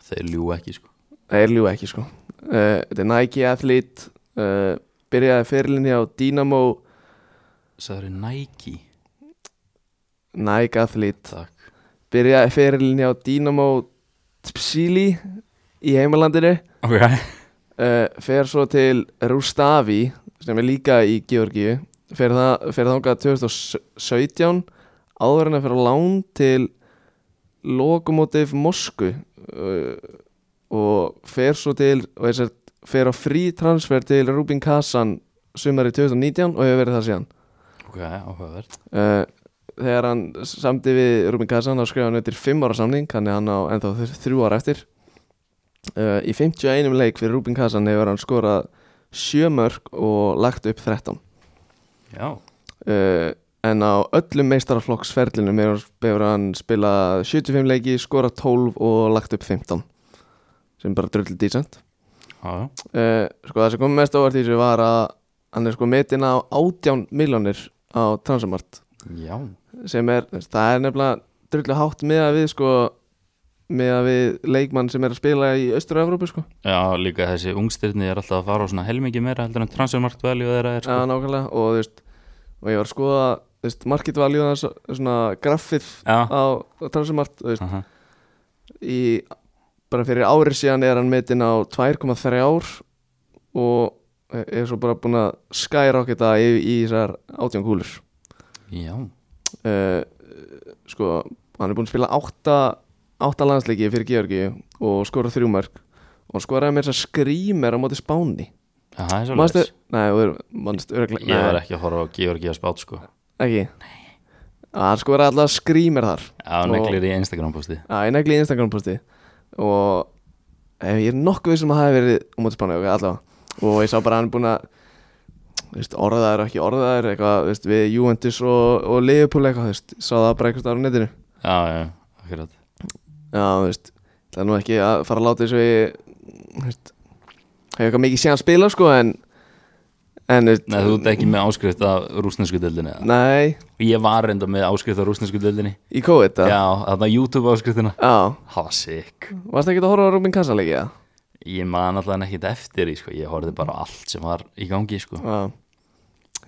Speaker 2: þeir ljú ekki sko.
Speaker 1: Það er ljú ekki sko Eh, Þetta er Nike Athlete uh, Byrjaði fyrirlinni á Dynamo
Speaker 2: Sæður er Nike,
Speaker 1: Nike Athlete
Speaker 2: takk,
Speaker 1: Byrjaði fyrirlinni á Dynamo Tpsili Í heimalandinu
Speaker 2: ok,
Speaker 1: uh, Fer svo til Rustavi Sem er líka í Georgíu Fer, það, fer þangað 2017 Áður en að fyrir lán til Lokomotiv Mosku uh, Og fer svo til Og þess að fer á frí transfer til Rubin Kassan sumari 2019 og hefur verið það síðan
Speaker 2: ok, áhugavert,
Speaker 1: uh, þegar hann samdi við Rubin Kassan þá skrifa hann undir 5 ára samning þannig að hann á ennþá 3 ára eftir uh, í 51 leik fyrir Rubin Kassan hefur hann skorað 7 mörg og lagt upp 13
Speaker 2: já,
Speaker 1: uh, en á öllum meistaraflokksferlinum hefur- hefur hann spilað 75 leiki, skorað 12 og lagt upp 15 sem er bara drullið dísent
Speaker 2: já,
Speaker 1: uh, sko það sem kom mest ávart í þessu var að hann er sko metin á 18 miljónir á Transamart
Speaker 2: já,
Speaker 1: sem er, þú veist, það er nefnilega drullu hátt með að við sko með að við leikmann sem er að spila í austur Evrópu sko,
Speaker 2: já, líka þessi ungstyrni er alltaf að fara á svona helmingi meira heldur en transfermarktvæli og þeirra er
Speaker 1: sko.
Speaker 2: sko.
Speaker 1: nákvæmlega og þú veist, og ég var að skoða þú veist, market value þess svona graffið
Speaker 2: Já,
Speaker 1: á transumart, þú veist,
Speaker 2: aha,
Speaker 1: í bara fyrir ári síðan er hann metin á 2,3 ár og er svo bara búin að skyrocketa í, í þessar átján kúlur
Speaker 2: já,
Speaker 1: uh, sko, hann er búinn að spila átta, átta landsleiki fyrir Georgi og skora þrjú mörg og hann skoraði með þess að skrýmer á móti spáni
Speaker 2: aha, það er
Speaker 1: Manstu,
Speaker 2: svolítið,
Speaker 1: nei, þú er- manstu örglega
Speaker 2: ég var ekki að horfa á Georgi að spátt sko,
Speaker 1: ekki hann skoraði alltaf skrýmer þar
Speaker 2: já,
Speaker 1: Og-
Speaker 2: neglir í Instagram posti,
Speaker 1: að ég negli í Instagram posti og eh, ég er nokkuð vissum að það hefði verið á móti spáni, ok, allavega og ég sá bara hann búinn að þú veist, orðaðar og ekki orðaðar eitthvað, þú veist, við Juventus og, og Liverpool eitthvað, þú veist, sá það bara eitthvað á netinu
Speaker 2: já, já, akkurat.
Speaker 1: Já, þú veist, það er nú ekki að fara að láta þessu ég, þú veist, hefur eitthvað mikið séð að spila sko en, en, þú veist,
Speaker 2: Nei, þú ert ekki með áskrift af rúsnesku deildinni eða?
Speaker 1: nei,
Speaker 2: Ég var reynda með áskrift af rúsnesku deildinni
Speaker 1: í COVID
Speaker 2: Já,
Speaker 1: eða?
Speaker 2: þarna YouTube áskriftina
Speaker 1: Já,
Speaker 2: Það var sick
Speaker 1: varst ekki að horfa á Rúbin Kassa leikið það?
Speaker 2: ég man allan ekkit eftir því, sko. ég horfði bara á allt sem var í gangi sko.
Speaker 1: Já,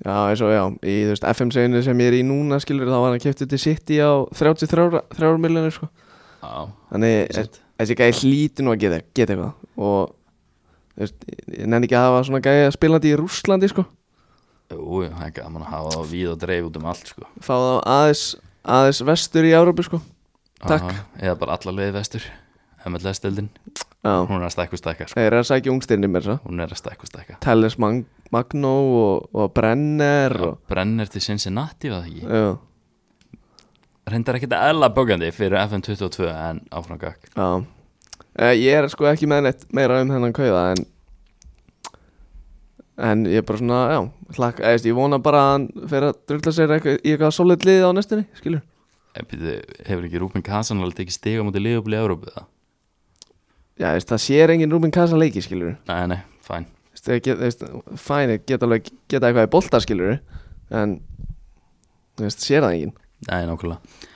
Speaker 1: já eins og já Í þú veist, FM-seginu sem ég er í núna skilur þá var hann kæftið til City á 33 miljonir sko
Speaker 2: Já,
Speaker 1: Þannig er- þessi gæði hlíti nú að geta, geta eitthvað Og þú veist, ég nenni ekki að hafa svona gæði spilandi í Rússlandi sko
Speaker 2: jú, jú, það er gaman að hafa það víð og dreif út um allt sko.
Speaker 1: Fá þá aðeins, aðeins vestur í Európu sko Takk.
Speaker 2: Aha, Eða bara alla leið vestur MLS-deldin,
Speaker 1: Já,
Speaker 2: hún er að stækka og stækka sko.
Speaker 1: þeir eru að sækja ungstirni mér svo
Speaker 2: Hún er að stækka og stækka
Speaker 1: Telles Mag Magnó og, og Brenner og,
Speaker 2: Brenner til Cincinnati, var það ekki?
Speaker 1: já,
Speaker 2: Reyndar ekkit eðla bókandi fyrir FM22 en áfram gakk
Speaker 1: já. Eh, Ég er sko ekki með neitt meira um þennan kauða en En ég er bara svona, já, hlakka, eða veist, ég vona bara að hann fer að drulla sér eitthvað, í eitthvað solid lið á næstunni, skilur.
Speaker 2: Eh, bíddu, Hefur ekki Rúben Kassan alveg ekki stiga mútið liðubli í Európa það?
Speaker 1: Já, veist, það sér engin Rúbin Kassa leiki, skilur.
Speaker 2: Nei, nei, fæn
Speaker 1: Veist, þeir get, veist, fæni geta alveg, geta eitthvað í bolta, skilur, en, þú veist, sér það engin.
Speaker 2: Nei, nákvæmlega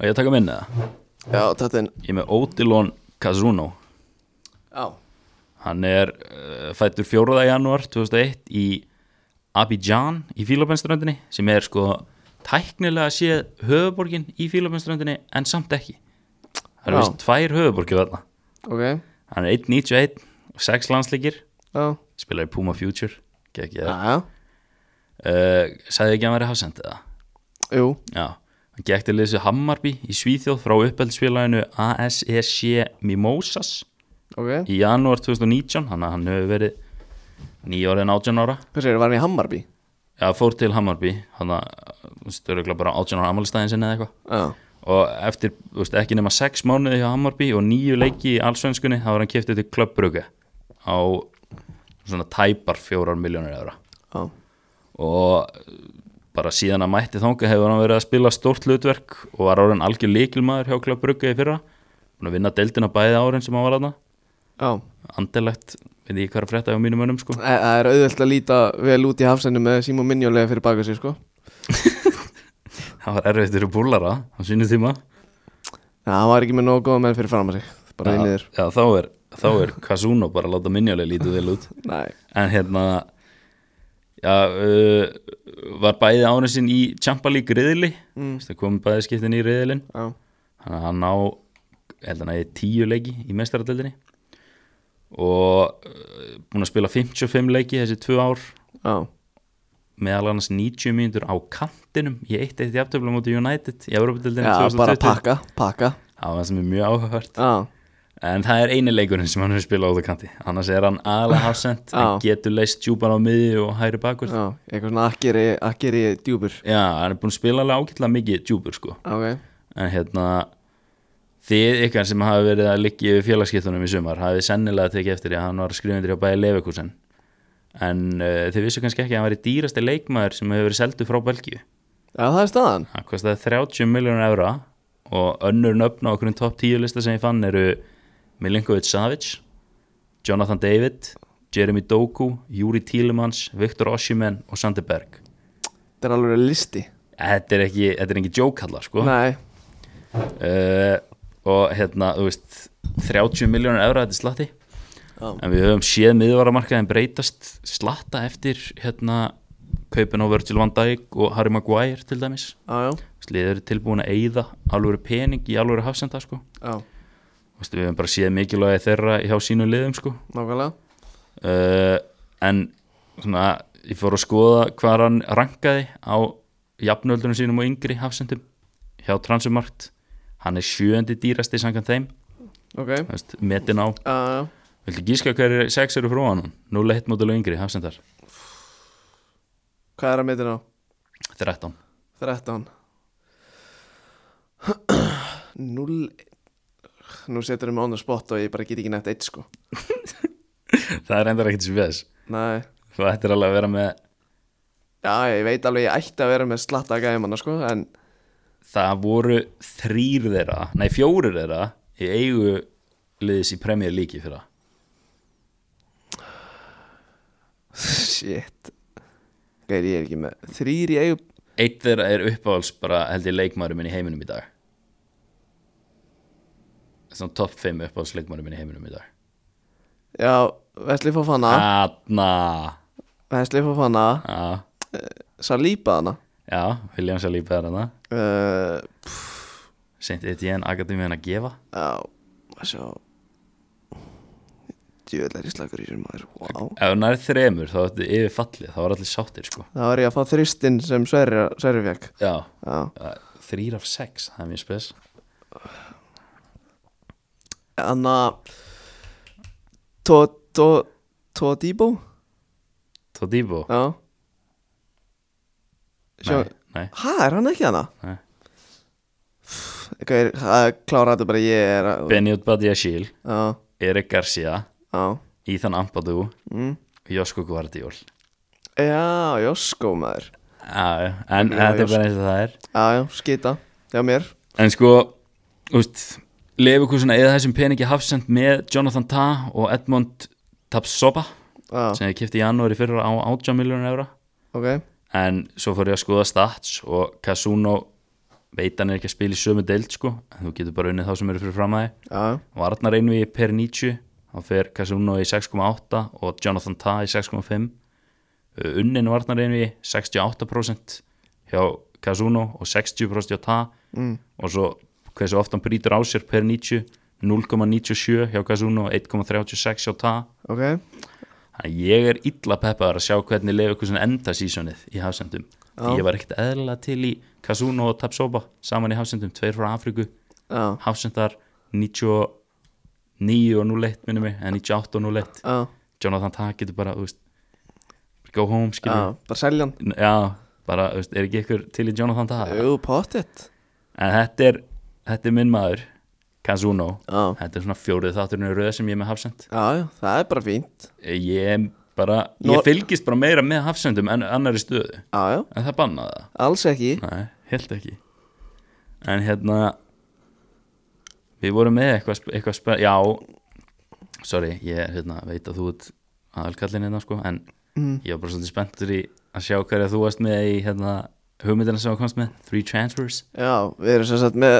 Speaker 2: Og ég að taka minna það
Speaker 1: Já, þetta er,
Speaker 2: Ég er með Odilon Kazuno
Speaker 1: já,
Speaker 2: Hann er uh, fættur 4. janúar 2001 í Abidjan í Fílapensströndinni sem er sko tæknilega séð höfuborgin í Fílapensströndinni en samt ekki Það eru
Speaker 1: Já.
Speaker 2: vist tvær höfuborgir þarna
Speaker 1: ok,
Speaker 2: Hann er 1.91 og 6 landsleikir
Speaker 1: já,
Speaker 2: spilar í Puma Future
Speaker 1: já,
Speaker 2: Gekki, ja.
Speaker 1: já,
Speaker 2: uh, Sæði ekki að hann væri hafsend eða?
Speaker 1: jú,
Speaker 2: Já, hann gekk til þessu Hammarby í Svíþjóð frá uppeldisfélaginu ASEC Mimosas
Speaker 1: ok.
Speaker 2: í janúar 2019, hann, hann hefur verið nýjórið en 18 ára
Speaker 1: Hvað segir, var hann í Hammarby?
Speaker 2: Já, fór til Hammarby, hann störuglega bara 18 ára ammálistæðin sinni eða eitthvað
Speaker 1: Já,
Speaker 2: og eftir, þú veist, ekki nema 6 mánuði hjá Hammarby og nýju leiki í allsvenskunni þá var hann kiftið til klubbrugge á svona tæpar 4 miljónir eðra
Speaker 1: já,
Speaker 2: og bara síðan að mætti þanga hefur hann verið að spila stórt hlutverk og var árin algjör líkilmaður hjá Klapp Brugge í fyrra hann að vinna deildina bæði árin sem hann var aðna
Speaker 1: já.
Speaker 2: andelegt, veit ég hvað er að frétta hjá mínum önum sko.
Speaker 1: Þa- Það er auðvelt að líta vel út í hafsennu með Simon Minjólega fyrir baka sig, sko.
Speaker 2: það var erfitt fyrir búlara á sínu tíma
Speaker 1: Já, hann var ekki með nógu góða menn fyrir fram að sig. Bara ja.
Speaker 2: já,
Speaker 1: inniður.
Speaker 2: já, þá er, þá er Kazuno bara að láta minnjulega lítið vel út
Speaker 1: Nei.
Speaker 2: en hérna já, uh, var bæði árin sín í Champa League riðli mm. komið bæði skiptin í riðlin
Speaker 1: Já,
Speaker 2: Þannig að hann á ég held hann að ég tíu leiki í mestaradeldinni og uh, búin að spila 55 leiki þessi tvö ár
Speaker 1: já,
Speaker 2: meðal annars 90 mínútur á kantinum í eitt eitt jafntöfla móti United í Európa-deldinni
Speaker 1: já
Speaker 2: 2020
Speaker 1: bara pakka, pakka.
Speaker 2: það var það sem er mjög áhugavert
Speaker 1: Já,
Speaker 2: en það er eini leikurinn sem hann hefur spilað út á kanti annars er hann aðlega hafsend hann
Speaker 1: Já.
Speaker 2: getur leist djúpan á miði og hæri bakur já,
Speaker 1: já, eitthvað svona akkeri, akkeri djúbur.
Speaker 2: hann er búin að spila alveg ágætlega mikið djúpur sko
Speaker 1: Ok,
Speaker 2: en hérna þið ykkar sem hafa verið að liggja yfir félagskiptunum í sumar hafið sennilega tekið eftir því að hann var skrifundir hjá bæði Leverkusen en uh, þið vissu kannski ekki að hann var í dýrasti leikmaður sem hefur verið seldu frá Belgíu
Speaker 1: já, það er staðan.
Speaker 2: hann kostaði 30 miljónur evra og önnur nöfn á okkur top 10 lista sem ég fann eru Milinkovic Savic Jonathan David Jeremy Doku, Júri Tílemans Viktor Oshimen og Sander Berg
Speaker 1: Þetta er alveg listi.
Speaker 2: þetta er ekki, þetta er ekki jókallar sko
Speaker 1: Nei,
Speaker 2: uh, og hérna, þú veist 30 miljónur evra þetta er slatti
Speaker 1: Já.
Speaker 2: en við höfum séð miðvaramarkaðin breytast slatta eftir hérna kaupin á Virgil van Dijk og Harry Maguire til dæmis
Speaker 1: já, já,
Speaker 2: sliður eru tilbúin að eyða alvöru pening í alvöru hafsenda sko
Speaker 1: já,
Speaker 2: Þú veist, við höfum bara séð mikilvægi þeirra hjá sínum liðum sko
Speaker 1: nákvæmlega.
Speaker 2: uh, en svona ég fór að skoða hvað hann rankaði á jafnöldunum sínum og yngri hafsendum hjá Transumart hann er sjöndi dýrasti samkvæmt þeim
Speaker 1: Ok,
Speaker 2: Þú veist, metin á
Speaker 1: já, já,
Speaker 2: Viltu gíska hverju sex eru frá hann? 0-1 mótil og yngri, hafsendar
Speaker 1: hvað er að mitin á?
Speaker 2: 13
Speaker 1: 13 0 Nú setur við mig on the spot og ég bara get ekki nefnt eitt sko
Speaker 2: Það er endar ekkert sem við þess
Speaker 1: Nei,
Speaker 2: Þú ættir alveg að vera með
Speaker 1: já ég veit alveg ég ætti að vera með slatta gæmanna sko En
Speaker 2: Það voru þrýr þeirra Nei, fjórir þeirra Í eigu liðis í Premier League í fyrra
Speaker 1: shit Gæri ég er ekki með Þrýr í eigu
Speaker 2: Eitt þeirra er uppáhalds bara held ég leikmaður minn í heiminum í dag Svona topp 5 uppáhalds leikmaður minn í heiminum í dag
Speaker 1: Já, Vesli Fofana
Speaker 2: Atna
Speaker 1: Vesli Fofana
Speaker 2: Já,
Speaker 1: Saliba hana
Speaker 2: já Williams er lífið þarna
Speaker 1: uh,
Speaker 2: Seint Etienne Akademiðan að gefa
Speaker 1: Já, að sjá Djöðl er í slagur í sér maður wow.
Speaker 2: Ef hún er þremur þá ertu yfir fallið Þá er allir sáttir sko
Speaker 1: Það var ég að fá þristinn sem Sverri, Sverri fekk
Speaker 2: Já,
Speaker 1: Já,
Speaker 2: þrýr af sex Það er mjög spes
Speaker 1: þannig að Tó, tó, tó Dibó
Speaker 2: Todibo
Speaker 1: Já Sjá,
Speaker 2: Nei, nei
Speaker 1: hæ, er hann ekki hana?
Speaker 2: Nei.
Speaker 1: Hvað er, það klára þetta bara ég er að
Speaker 2: Benjot Badiashil
Speaker 1: Já,
Speaker 2: Erik Garcia
Speaker 1: já
Speaker 2: Ethan Ampadu
Speaker 1: mm.
Speaker 2: Josko Guardiol
Speaker 1: Já, Josko maður
Speaker 2: Já, já, en
Speaker 1: Já,
Speaker 2: þetta er
Speaker 1: Josko.
Speaker 2: bara eins og það er
Speaker 1: Já, já, skita Já, mér
Speaker 2: En sko, úst Lefukursuna eða þessum peningi hafsend með Jonathan Ta og Edmond Tapsoba
Speaker 1: Já,
Speaker 2: sem ég kipti í janúari fyrra á 18 miljónur eura
Speaker 1: ok
Speaker 2: en svo fór ég að skoða stats og Casuno veit hann er ekki að spila í sömu deild sko en þú getur bara unnið þá sem eru fyrir fram að þig
Speaker 1: Já,
Speaker 2: og Arnar Einvi per 90 þá fer Casuno í 6,8 og Jonathan Ta í 6,5 Uh, unnin og Arnar Einvi 68% hjá Casuno og 60% hjá Ta
Speaker 1: mm.
Speaker 2: og svo hversu oft hann brýtur á sér per 90 0,97 hjá Casuno og 1,36 hjá Ta
Speaker 1: ok
Speaker 2: Þannig að ég er illa peppaður að sjá hvernig leiðu ykkur svona enda sísonið í hafsendum. Því ég var ekkert eðla til í Kasuno og Tapsoba saman í hafsendum, tveir frá Afríku,
Speaker 1: Já,
Speaker 2: hafsendar 99 og 01 minnum mig, eða 98 og 01.
Speaker 1: já,
Speaker 2: Jonathan Tag getur bara, þú veist, go home,
Speaker 1: já,
Speaker 2: skilur.
Speaker 1: bara selja hann
Speaker 2: Já. bara, þú veist, er ekki ykkur til í Jonathan Tag?
Speaker 1: Jú, pottet
Speaker 2: En þetta er, þetta er minn maður, Kasuno.
Speaker 1: Já,
Speaker 2: Þetta er svona fjórið þátturinn í röð sem ég er með hafsend.
Speaker 1: já, já, það er bara fínt
Speaker 2: Ég bara,
Speaker 1: Nú-
Speaker 2: ég fylgist bara meira með hafsendum en annari stöðu.
Speaker 1: Já, já,
Speaker 2: En það bannaði það?
Speaker 1: alls ekki
Speaker 2: Nei, held ekki En hérna Við vorum með eitthvað, sp- eitthvað spe... Já, sorry, ég hérna, veit að þú ert aðalkallin hérna sko En
Speaker 1: Mm.
Speaker 2: ég var bara svolítið spenntur í að sjá hverja þú varst með í hérna, hugmyndina sem þú komst með Three transfers
Speaker 1: Já, við erum sem sagt með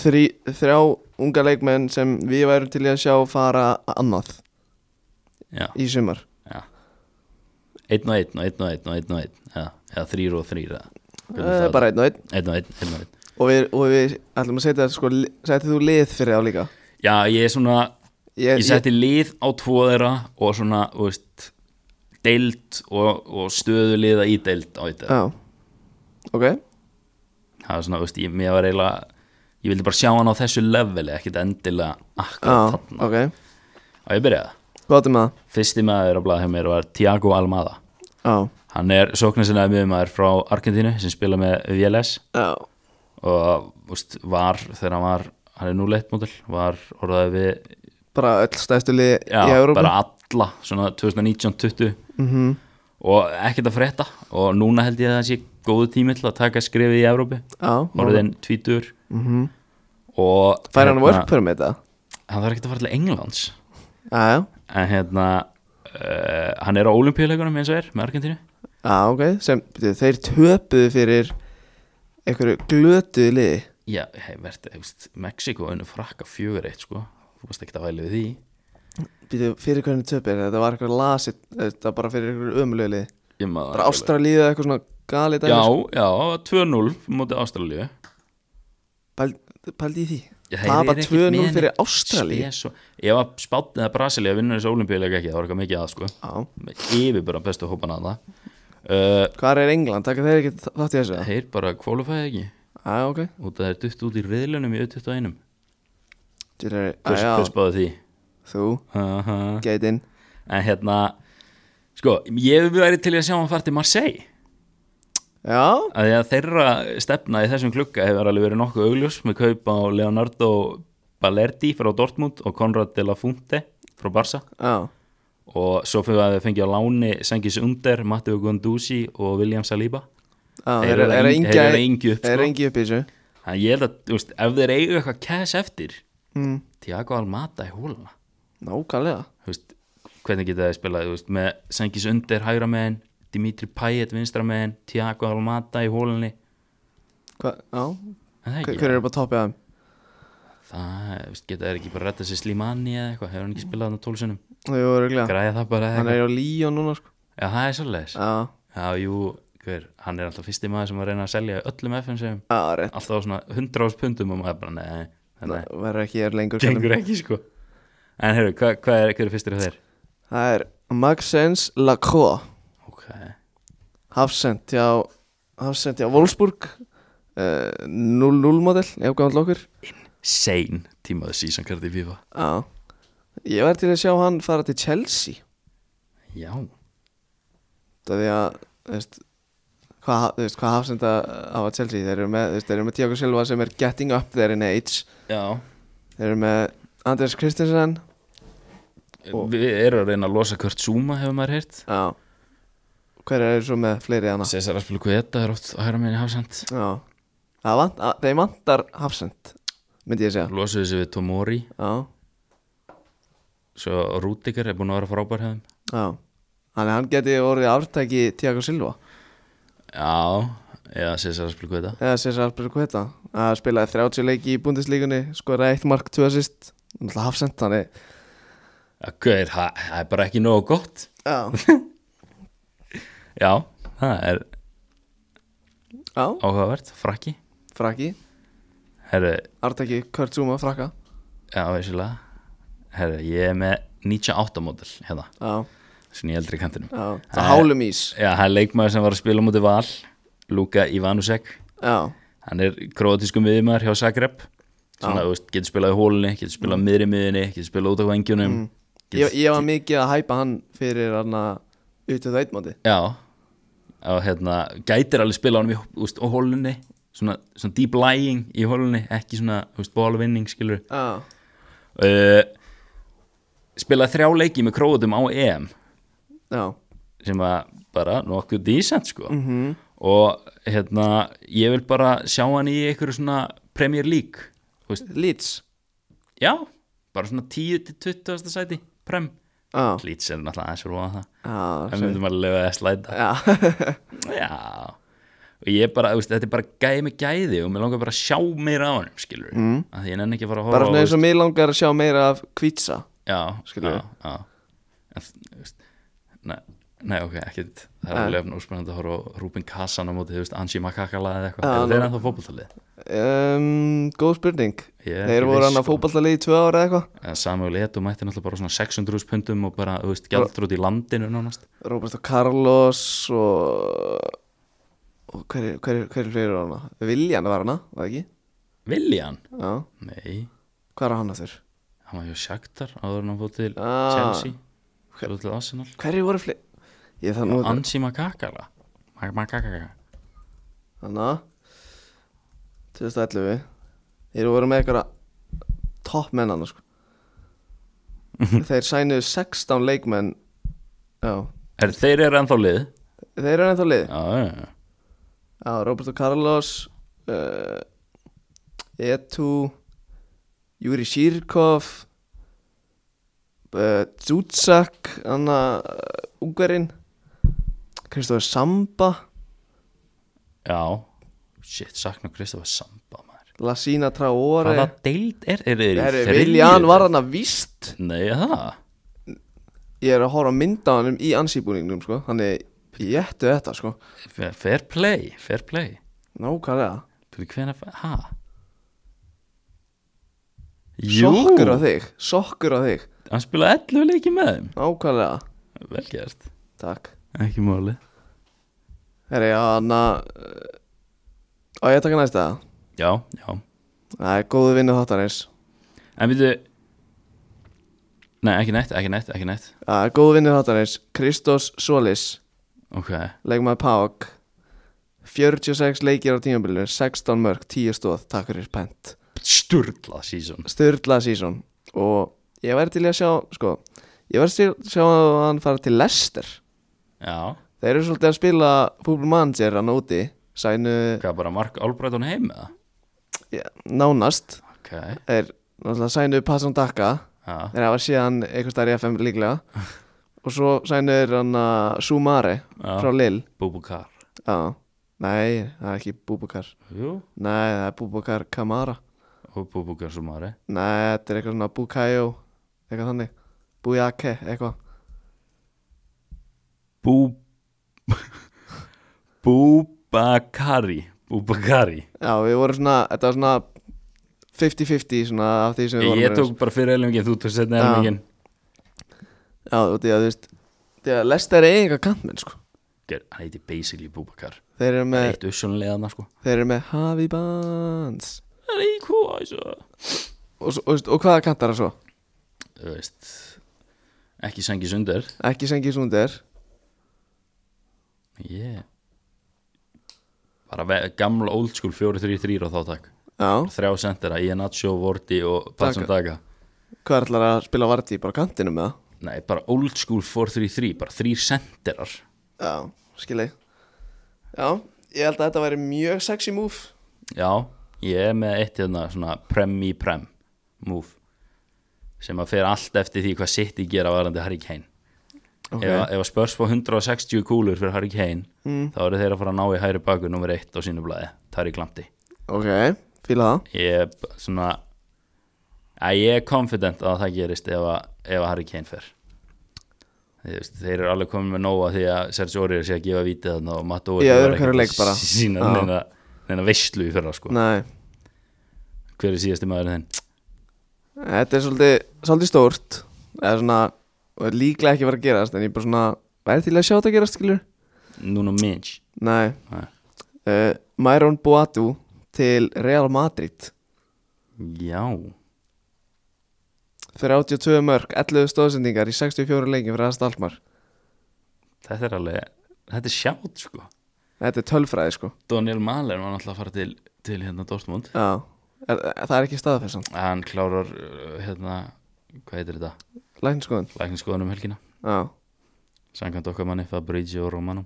Speaker 1: þrý, þrjá unga leikmenn sem við værum til í að sjá fara annað
Speaker 2: Já,
Speaker 1: í sumar
Speaker 2: já Einn og einn og einn og einn og einn og einn Já, já þrýr og þrýr eða hvernig
Speaker 1: Eh,
Speaker 2: það-
Speaker 1: Bara einn og einn
Speaker 2: Einn og einn, einn og einn
Speaker 1: og við, og við ætlum að setja sko, li- settir þú lið fyrir þá líka
Speaker 2: Já, ég er svona
Speaker 1: Eh, Ég,
Speaker 2: ég setti lið á tvo þeirra og svona, þú veist deild og, og stöðu liða í deild á þetta
Speaker 1: Já, ok
Speaker 2: það var svona, þú veist, ég, mér var eiginlega ég vildi bara sjá hann á þessu leveli ekkit endilega
Speaker 1: Já,
Speaker 2: akkurat þarna
Speaker 1: ok
Speaker 2: og ég byrjaði,
Speaker 1: Hvað er með það?
Speaker 2: fyrsti maður á blaða hjá mér var Tiago Almada,
Speaker 1: Já,
Speaker 2: hann er sóknarsinnaði mjög maður frá Argentínu sem spila með VLS
Speaker 1: já,
Speaker 2: og þú veist, var þegar hann var hann er nú leitt mótil, var orðaði við
Speaker 1: bara öll stæðstu lið
Speaker 2: já,
Speaker 1: í Európa
Speaker 2: bara alla, svona 2019-20
Speaker 1: Mhm.
Speaker 2: og ekkert að frétta og núna held ég að það sé góðu tími til að taka skrifið í Evrópi
Speaker 1: Já,
Speaker 2: orðin tvítur
Speaker 1: mm -hmm.
Speaker 2: og
Speaker 1: Fær hann
Speaker 2: hérna,
Speaker 1: work permit það?
Speaker 2: hann þarf ekkert að fara til Englands
Speaker 1: Já, já,
Speaker 2: en hérna uh, hann er á olimpíuleikunum eins og er með Argentínu
Speaker 1: já, ok sem, byrju, Þeir töpuðu fyrir einhverju glötuðu liði
Speaker 2: já, hei, verði, þú veist, Mexiko unnu frakka fjögur eitt sko þú varst ekkert að væli við því
Speaker 1: Býtu, fyrir hvernig töpuðu er þetta? Þetta var eitthvað lasið, þetta var bara fyrir einhverju ömulegu liði
Speaker 2: Ég maður
Speaker 1: Bara ástralíu eða eitthvað svona gali dæmi
Speaker 2: já,
Speaker 1: sko.
Speaker 2: já, 2-0 mútið Ástralíu
Speaker 1: Pæl- Pældi í því
Speaker 2: Já,
Speaker 1: Það var
Speaker 2: þeir
Speaker 1: bara
Speaker 2: eru ekkert
Speaker 1: 2-0
Speaker 2: með
Speaker 1: fyrir
Speaker 2: neitt
Speaker 1: Ástralíu
Speaker 2: spes og- ef að spátnið að Brasilia vinnur þessu olimpíuleika ekki, það var eitthvað mikið að sko
Speaker 1: Já,
Speaker 2: yfir bara bestu hópana að það uh,
Speaker 1: hvar er England? Takk þeir ekki þátt í þessu eða?
Speaker 2: þeir bara kvalifæði ekki
Speaker 1: Já, ok
Speaker 2: út að þeir dutt út í riðlunum í 21
Speaker 1: Þeir eru,
Speaker 2: hvers,
Speaker 1: já,
Speaker 2: hvers báði því
Speaker 1: þú,
Speaker 2: uh -huh.
Speaker 1: geit inn
Speaker 2: en hérna sko, ég hef verið til í að sjá hann fara til Marseille
Speaker 1: Já,
Speaker 2: að því að þeirra stefna í þessum klukka hefur alveg verið nokkuð augljós með kaup á Leonardo Balerdi frá Dortmund og Conrad de la Funte frá Barca
Speaker 1: já,
Speaker 2: og svo fyrir að við fengið á láni Sengis Under, Matteo Gondúsi og William Saliba
Speaker 1: já
Speaker 2: Þeir eru að yng- þeir eru að yngja upp,
Speaker 1: Þeir eru
Speaker 2: sko.
Speaker 1: engi upp í þessu
Speaker 2: Þannig að ég held að, þú veist, ef þeir eigu eitthvað cash eftir
Speaker 1: mm.
Speaker 2: Tiago Almada í hóluna
Speaker 1: Nákvæmlega
Speaker 2: þú veist, hvernig geta þeir spilað þú veist, með Sengis Under hægra megin Dimitri Payet vinstra megin Tiago Almada í hólunni
Speaker 1: Hva, Já,
Speaker 2: En
Speaker 1: hver,
Speaker 2: það er
Speaker 1: hver
Speaker 2: ekki,
Speaker 1: eru bara toppið af þeim?
Speaker 2: það, veist, geta þeir ekki bara retta sér Slimani eða eitthvað, hefur hann ekki spilað þarna tólsunum
Speaker 1: Jú, örgulega
Speaker 2: græja það bara
Speaker 1: Hann
Speaker 2: eða
Speaker 1: er á Líón núna sko
Speaker 2: já, það er svolítið
Speaker 1: Já,
Speaker 2: já, jú, hver, hann er alltaf fyrsti maður sem var að reyna að selja öllum FN-segum
Speaker 1: já, rétt
Speaker 2: alltaf á svona 100 ás pundum og maður bara, nei, þetta
Speaker 1: Það verður ekki hér lengur
Speaker 2: gengur ekki sko en heyrðu, hva- hvað hva er, hver er fyrstir af þeir?
Speaker 1: Það er Maxens Lacroix
Speaker 2: ok,
Speaker 1: Hafsend hjá Hafsend hjá Wolfsburg uh, 0-0 model, ég ágæðan lókur
Speaker 2: sein tímaðu season card í FIFA
Speaker 1: Já Ég var til að sjá hann fara til Chelsea
Speaker 2: já,
Speaker 1: Það því að, þú veist Hvað, þú veist, hvað Hafsend að hafa Chelsea Þeir eru með, þú veist, þeir eru með Tiago Silva sem er getting up there in age
Speaker 2: já
Speaker 1: Þeir eru með Anders Kristensen Og-
Speaker 2: Við erum að reyna að losa Kurt Zuma hefur maður heyrt
Speaker 1: Já Hver er svo með fleiri hana?
Speaker 2: Cesar Aspilicueta er oft að hæra meðin í hafsend
Speaker 1: Já Það vant, að, þeir vantar Hafsend Myndi ég segja
Speaker 2: Losuðu sig við Tomori
Speaker 1: Já,
Speaker 2: Svo Rúdikar er búin að vera frábær hefðum
Speaker 1: já Þannig að hann geti orðið aftæki Tiago Silva
Speaker 2: Já, eða Cesar Aspilicueta
Speaker 1: eða César Albergueta að spilaði 30 leiki í búndislíkunni skoraði eitt mark, tvö assist náttúrulega hafsend þannig
Speaker 2: Gauðir, það það er bara ekki nógu gott
Speaker 1: já,
Speaker 2: Já, það er
Speaker 1: já,
Speaker 2: áhugavert, frakki
Speaker 1: frakki
Speaker 2: Herru,
Speaker 1: Artaki Kurt Zuma frakka
Speaker 2: já, veisilega Herru, ég er með 98 módel hérna,
Speaker 1: já,
Speaker 2: svona í eldri kantinum
Speaker 1: já,
Speaker 2: Það
Speaker 1: það hálum ís
Speaker 2: Já, það er leikmaður sem var að spila á móti val Luka Ivanusek
Speaker 1: já,
Speaker 2: hann er króatísku miðjumar hjá Zagreb svona, þú veist, getur spilað í hólunni, getur spilað mm. miðri miðjunni, getur spilað út á vengjunum
Speaker 1: Mm. ég, ég var mikið að hæpa hann fyrir hann að utöðu eitmáti
Speaker 2: já og hérna, gætir alveg spila honum í þú veist, á hólunni, svona, svona deep lying í hólunni, ekki svona þú veist, bólvinning skilur
Speaker 1: já,
Speaker 2: uh, spilaði þrjá leiki með króatum á EM
Speaker 1: já,
Speaker 2: sem var bara nokkuð decent sko
Speaker 1: Mm.
Speaker 2: -hmm. og hérna, ég vil bara sjá hann í einhverju svona Premier League þú veist,
Speaker 1: Leeds
Speaker 2: Já, bara svona 10 til 20. sæti Prem
Speaker 1: já,
Speaker 2: Leeds er náttúrulega aðeins fyrir ofan það
Speaker 1: já,
Speaker 2: Það myndum alveg að slæta
Speaker 1: já,
Speaker 2: Já Og ég bara, þú veist, þetta er bara gæði með gæði og mér langar bara að sjá meira á hann skilur mm. að því ég nenni ekki að fara að horfa
Speaker 1: bara svona
Speaker 2: á,
Speaker 1: eins og mig langar að sjá meira af kvítsa
Speaker 2: Já,
Speaker 1: Skilurðu?
Speaker 2: já, já. En, þú veist, nei, nei, ok, ekkert Það er alveg náttúrulega að horfa á Rúbin Kassan á móti, þú veist, Angie Makakala eða eitthvað
Speaker 1: Já,
Speaker 2: Eru
Speaker 1: nú-
Speaker 2: Þeir er ennþá fótboltalið
Speaker 1: um, góð spurning
Speaker 2: Ég er
Speaker 1: þeir
Speaker 2: ekki
Speaker 1: voru
Speaker 2: viss,
Speaker 1: hann að
Speaker 2: sko.
Speaker 1: fótballalegi í tvö ára eða eitthvað
Speaker 2: En Samuel Eto mætti náttúrulega bara svona 600 pundum og bara, þú veist, gjaldrúti í landinu nánast
Speaker 1: Roberto Carlos og, og hver, hver, hver er fyrir hana? Viljan var hana, var það ekki?
Speaker 2: Viljan?
Speaker 1: Já,
Speaker 2: Nei,
Speaker 1: hvað er hann að þurr?
Speaker 2: hann var hjá Shakhtar áður en hann fótt til
Speaker 1: Ah.
Speaker 2: Chelsea svo til Arsenal
Speaker 1: Hverju voru fleiri? Ég þarf nú að
Speaker 2: Ansi Makakala Mak- Makakaka
Speaker 1: Hanna 2011 Þeir voru með eitthvað topp menn hann sko. Þeir sænuðu 16 leikmenn Já,
Speaker 2: er, Þeir eru ennþá lið
Speaker 1: þeir eru ennþá liði
Speaker 2: Já, já, já.
Speaker 1: Já, Roberto Carlos uh, Etu Júri Sírkov uh, Zuzak Anna uh, Ungarinn Kristofur Samba
Speaker 2: já Shit, sakna Kristofa Samba maður
Speaker 1: Lasina Traore
Speaker 2: Hvaða deild er? Er
Speaker 1: Herri,
Speaker 2: þeir
Speaker 1: Viljan var hann að víst
Speaker 2: Nei, það
Speaker 1: Ég er að horfa á mynd á hann í ansýbúningnum sko. Hann er jættu þetta sko.
Speaker 2: F- Fair play, fair play
Speaker 1: Nákvæmlega
Speaker 2: Byrðu hvernig að Ha? Jú,
Speaker 1: Sokkur á þig Sokkur á þig
Speaker 2: hann spilaði 11 leiki með þeim
Speaker 1: Nákvæmlega
Speaker 2: Vel gert,
Speaker 1: Takk
Speaker 2: ekki máli
Speaker 1: Herri, hann að Á ég að taka næsta það
Speaker 2: Já, já
Speaker 1: Það er góðu vinnu þáttarins
Speaker 2: En við Nei, ekki neitt, ekki neitt, ekki neitt
Speaker 1: Það er góðu vinnu þáttarins Kristos Solis,
Speaker 2: Ok,
Speaker 1: leikmaður Pák 46 leikir á tímabilinu 16 mörg, 10 stóð, takk fyrir pent
Speaker 2: sturla season
Speaker 1: Sturla sísón Og ég væri til í að sjá sko, Ég væri til í að sjá að hann fara til Lester
Speaker 2: Já,
Speaker 1: Þeir eru svolítið að spila fútbolmanager hann úti Sænu
Speaker 2: hvað bara Mark Albrighton heim með það
Speaker 1: ja, nánast
Speaker 2: Ok,
Speaker 1: Þeir náttúrulega sænu Passan Dakka
Speaker 2: já,
Speaker 1: Þeir hafa séð hann eitthvað stær í FM líklega Og svo sænu er hann að Sumare
Speaker 2: Já.
Speaker 1: frá Lill
Speaker 2: Bubukar
Speaker 1: Já, nei, það er ekki Búbakar
Speaker 2: Jú,
Speaker 1: Nei, það er Búbakar Kamara
Speaker 2: Hopo Búkar Sumare
Speaker 1: Nei, þetta er eitthvað svona Bukayo Eitthvað þannig Bujake, eitthvað
Speaker 2: Bú Búbakari Búbakari
Speaker 1: Já, við vorum svona, þetta var svona 50-50 svona af því sem við vorum
Speaker 2: Ég tók bara fyrir elmingin, þú tók setna
Speaker 1: Já.
Speaker 2: elmingin
Speaker 1: Já, þú því að þú veist Því að Lester er eiginlega kantmenn, sko
Speaker 2: Hann heiti basically Búbakar
Speaker 1: Þeir eru með,
Speaker 2: Eitt usjónlega þarna sko
Speaker 1: þeir eru með Javi Bans
Speaker 2: Það er íkú Þú
Speaker 1: Og, svo- og, veist, og hvaða kantar það svo?
Speaker 2: veist Ekki sangi sundar
Speaker 1: Ekki sengi sundir
Speaker 2: Ég Bara ve- gamla old school 4-3-3 á þáttak
Speaker 1: Já,
Speaker 2: Þrjá sendera, Iannaccio, Vorti og Patson Daga
Speaker 1: hvað ætlar að spila varti bara á kantinum með það?
Speaker 2: Nei, bara old school 4-3-3 Bara þrýr senderar
Speaker 1: Já, skil ég Já, ég held að þetta væri mjög sexy move
Speaker 2: Já, ég er með eitt hérna svona prem-me-prem move sem að fer allt eftir því hvað City gera varandi Harry Kane
Speaker 1: Ok.
Speaker 2: ef, ef að spörs fá 160 kúlur fyrir Harry Kane
Speaker 1: Mm.
Speaker 2: þá eru þeir að fara að ná í hæri bakur nummer 1 á sínu blæði, Tari Klamti
Speaker 1: Ok, fíla það
Speaker 2: ég er b- svona að ég er confident að það gerist ef að, ef að Harry Kane fer Þið veist, þeir eru alveg komin með nóa því að Sergio Orri er sér að gefa vítið þarna og Matt
Speaker 1: Í
Speaker 2: Óri
Speaker 1: öðrum hverjum leik bara.
Speaker 2: sína
Speaker 1: Já.
Speaker 2: neina, neina veistlu í fyrra sko.
Speaker 1: Nei,
Speaker 2: hver er síðasti maður þinn?
Speaker 1: þetta er svolítið, svolítið stórt Það er svona, og er líklega ekki að fara að gerast En ég er bara svona, væri til að sjá þetta gerast, skilur
Speaker 2: Núna Minch
Speaker 1: Nei,
Speaker 2: Nei.
Speaker 1: uh, Myron Boadu til Real Madrid
Speaker 2: Já
Speaker 1: 32 mörg, 11 stóðsendingar í 64 leikin fyrir aðast almar
Speaker 2: Þetta er alveg Þetta er sjátt sko
Speaker 1: Þetta er tölfræði sko
Speaker 2: Daniel Mahler var náttúrulega að fara til, til hérna Dortmund
Speaker 1: Já, er, það er ekki staðfessan
Speaker 2: Hann klárar uh, hérna Hvað heitir þetta?
Speaker 1: Lækniskoðun
Speaker 2: Lækningskoðan um helgina
Speaker 1: Já,
Speaker 2: Sankant okkar manni Fabrizio Romano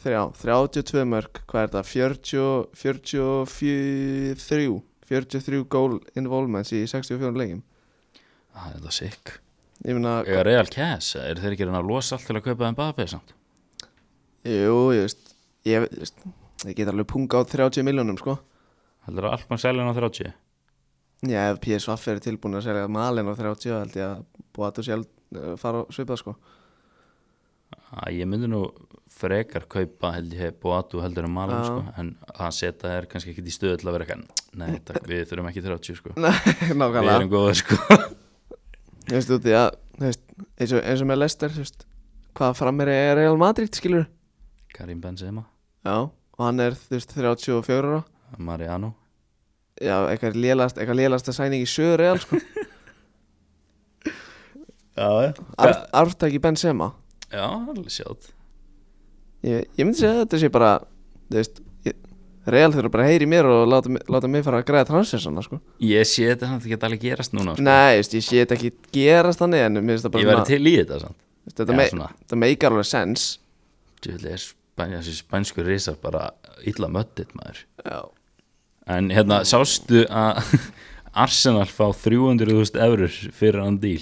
Speaker 1: þrjá, 32 mörg Hvað er það? 40, 43 43 goal involvements í 64 leikin
Speaker 2: ah, Þetta er sick
Speaker 1: Ég meina,
Speaker 2: Eða Real Cass Er þeir ekki að reyna að losa allt til að kaupa þeim Mbappé samt?
Speaker 1: jú, ég veist Ég, ég veist, ég get alveg punga á 30 miljónum sko
Speaker 2: Heldur að Alpmann selja hann á 30?
Speaker 1: Já, ef PSVF er tilbúin að selja malin á 30 held ég að Boatu sjálf eh, fara og svipa sko
Speaker 2: Ah, ég myndi nú frekar kaupa held ég Boatu heldur en Mahler
Speaker 1: Já.
Speaker 2: sko En að setja er kannski ekkit í stöðu til að vera eitthvað Nei, takk, við þurfum ekki 30 sko
Speaker 1: Nei,
Speaker 2: Við
Speaker 1: nákvæmlega
Speaker 2: erum góðir sko
Speaker 1: Þú veist, út í að, þú veist, eins og, eins og með Lester, þú veist, hvað framir er Real Madrid, skilur?
Speaker 2: Karim Benzema
Speaker 1: Já, og hann er, þú veist, 34 ára.
Speaker 2: Mariano
Speaker 1: Já, eitthvað lélast, eitthvað lélast að sæning í sögur Real, sko.
Speaker 2: Já,
Speaker 1: Arf, arftæki Benzema.
Speaker 2: já alveg sjátt
Speaker 1: Ég, ég myndi segja að þetta sé bara, þú veist, ég, Real þurfa bara að heyri mér og láta, mig- láta mig fara að græða transfersana, sko.
Speaker 2: Ég sé þetta samt ekki alveg gerast núna sko.
Speaker 1: Nei, þú veist, ég sé þetta ekki gerast þannig, en mér finnst það
Speaker 2: Ég
Speaker 1: bara
Speaker 2: væri til í þetta samt
Speaker 1: þú veist, þetta,
Speaker 2: Já,
Speaker 1: me,
Speaker 2: svona.
Speaker 1: þetta meikar alveg sens.
Speaker 2: Djúvel er spæn, þessi spænsku risar bara illa möttið maður
Speaker 1: Já.
Speaker 2: En hérna, sástu að Arsenal fá 300.000 eurur fyrir hann díl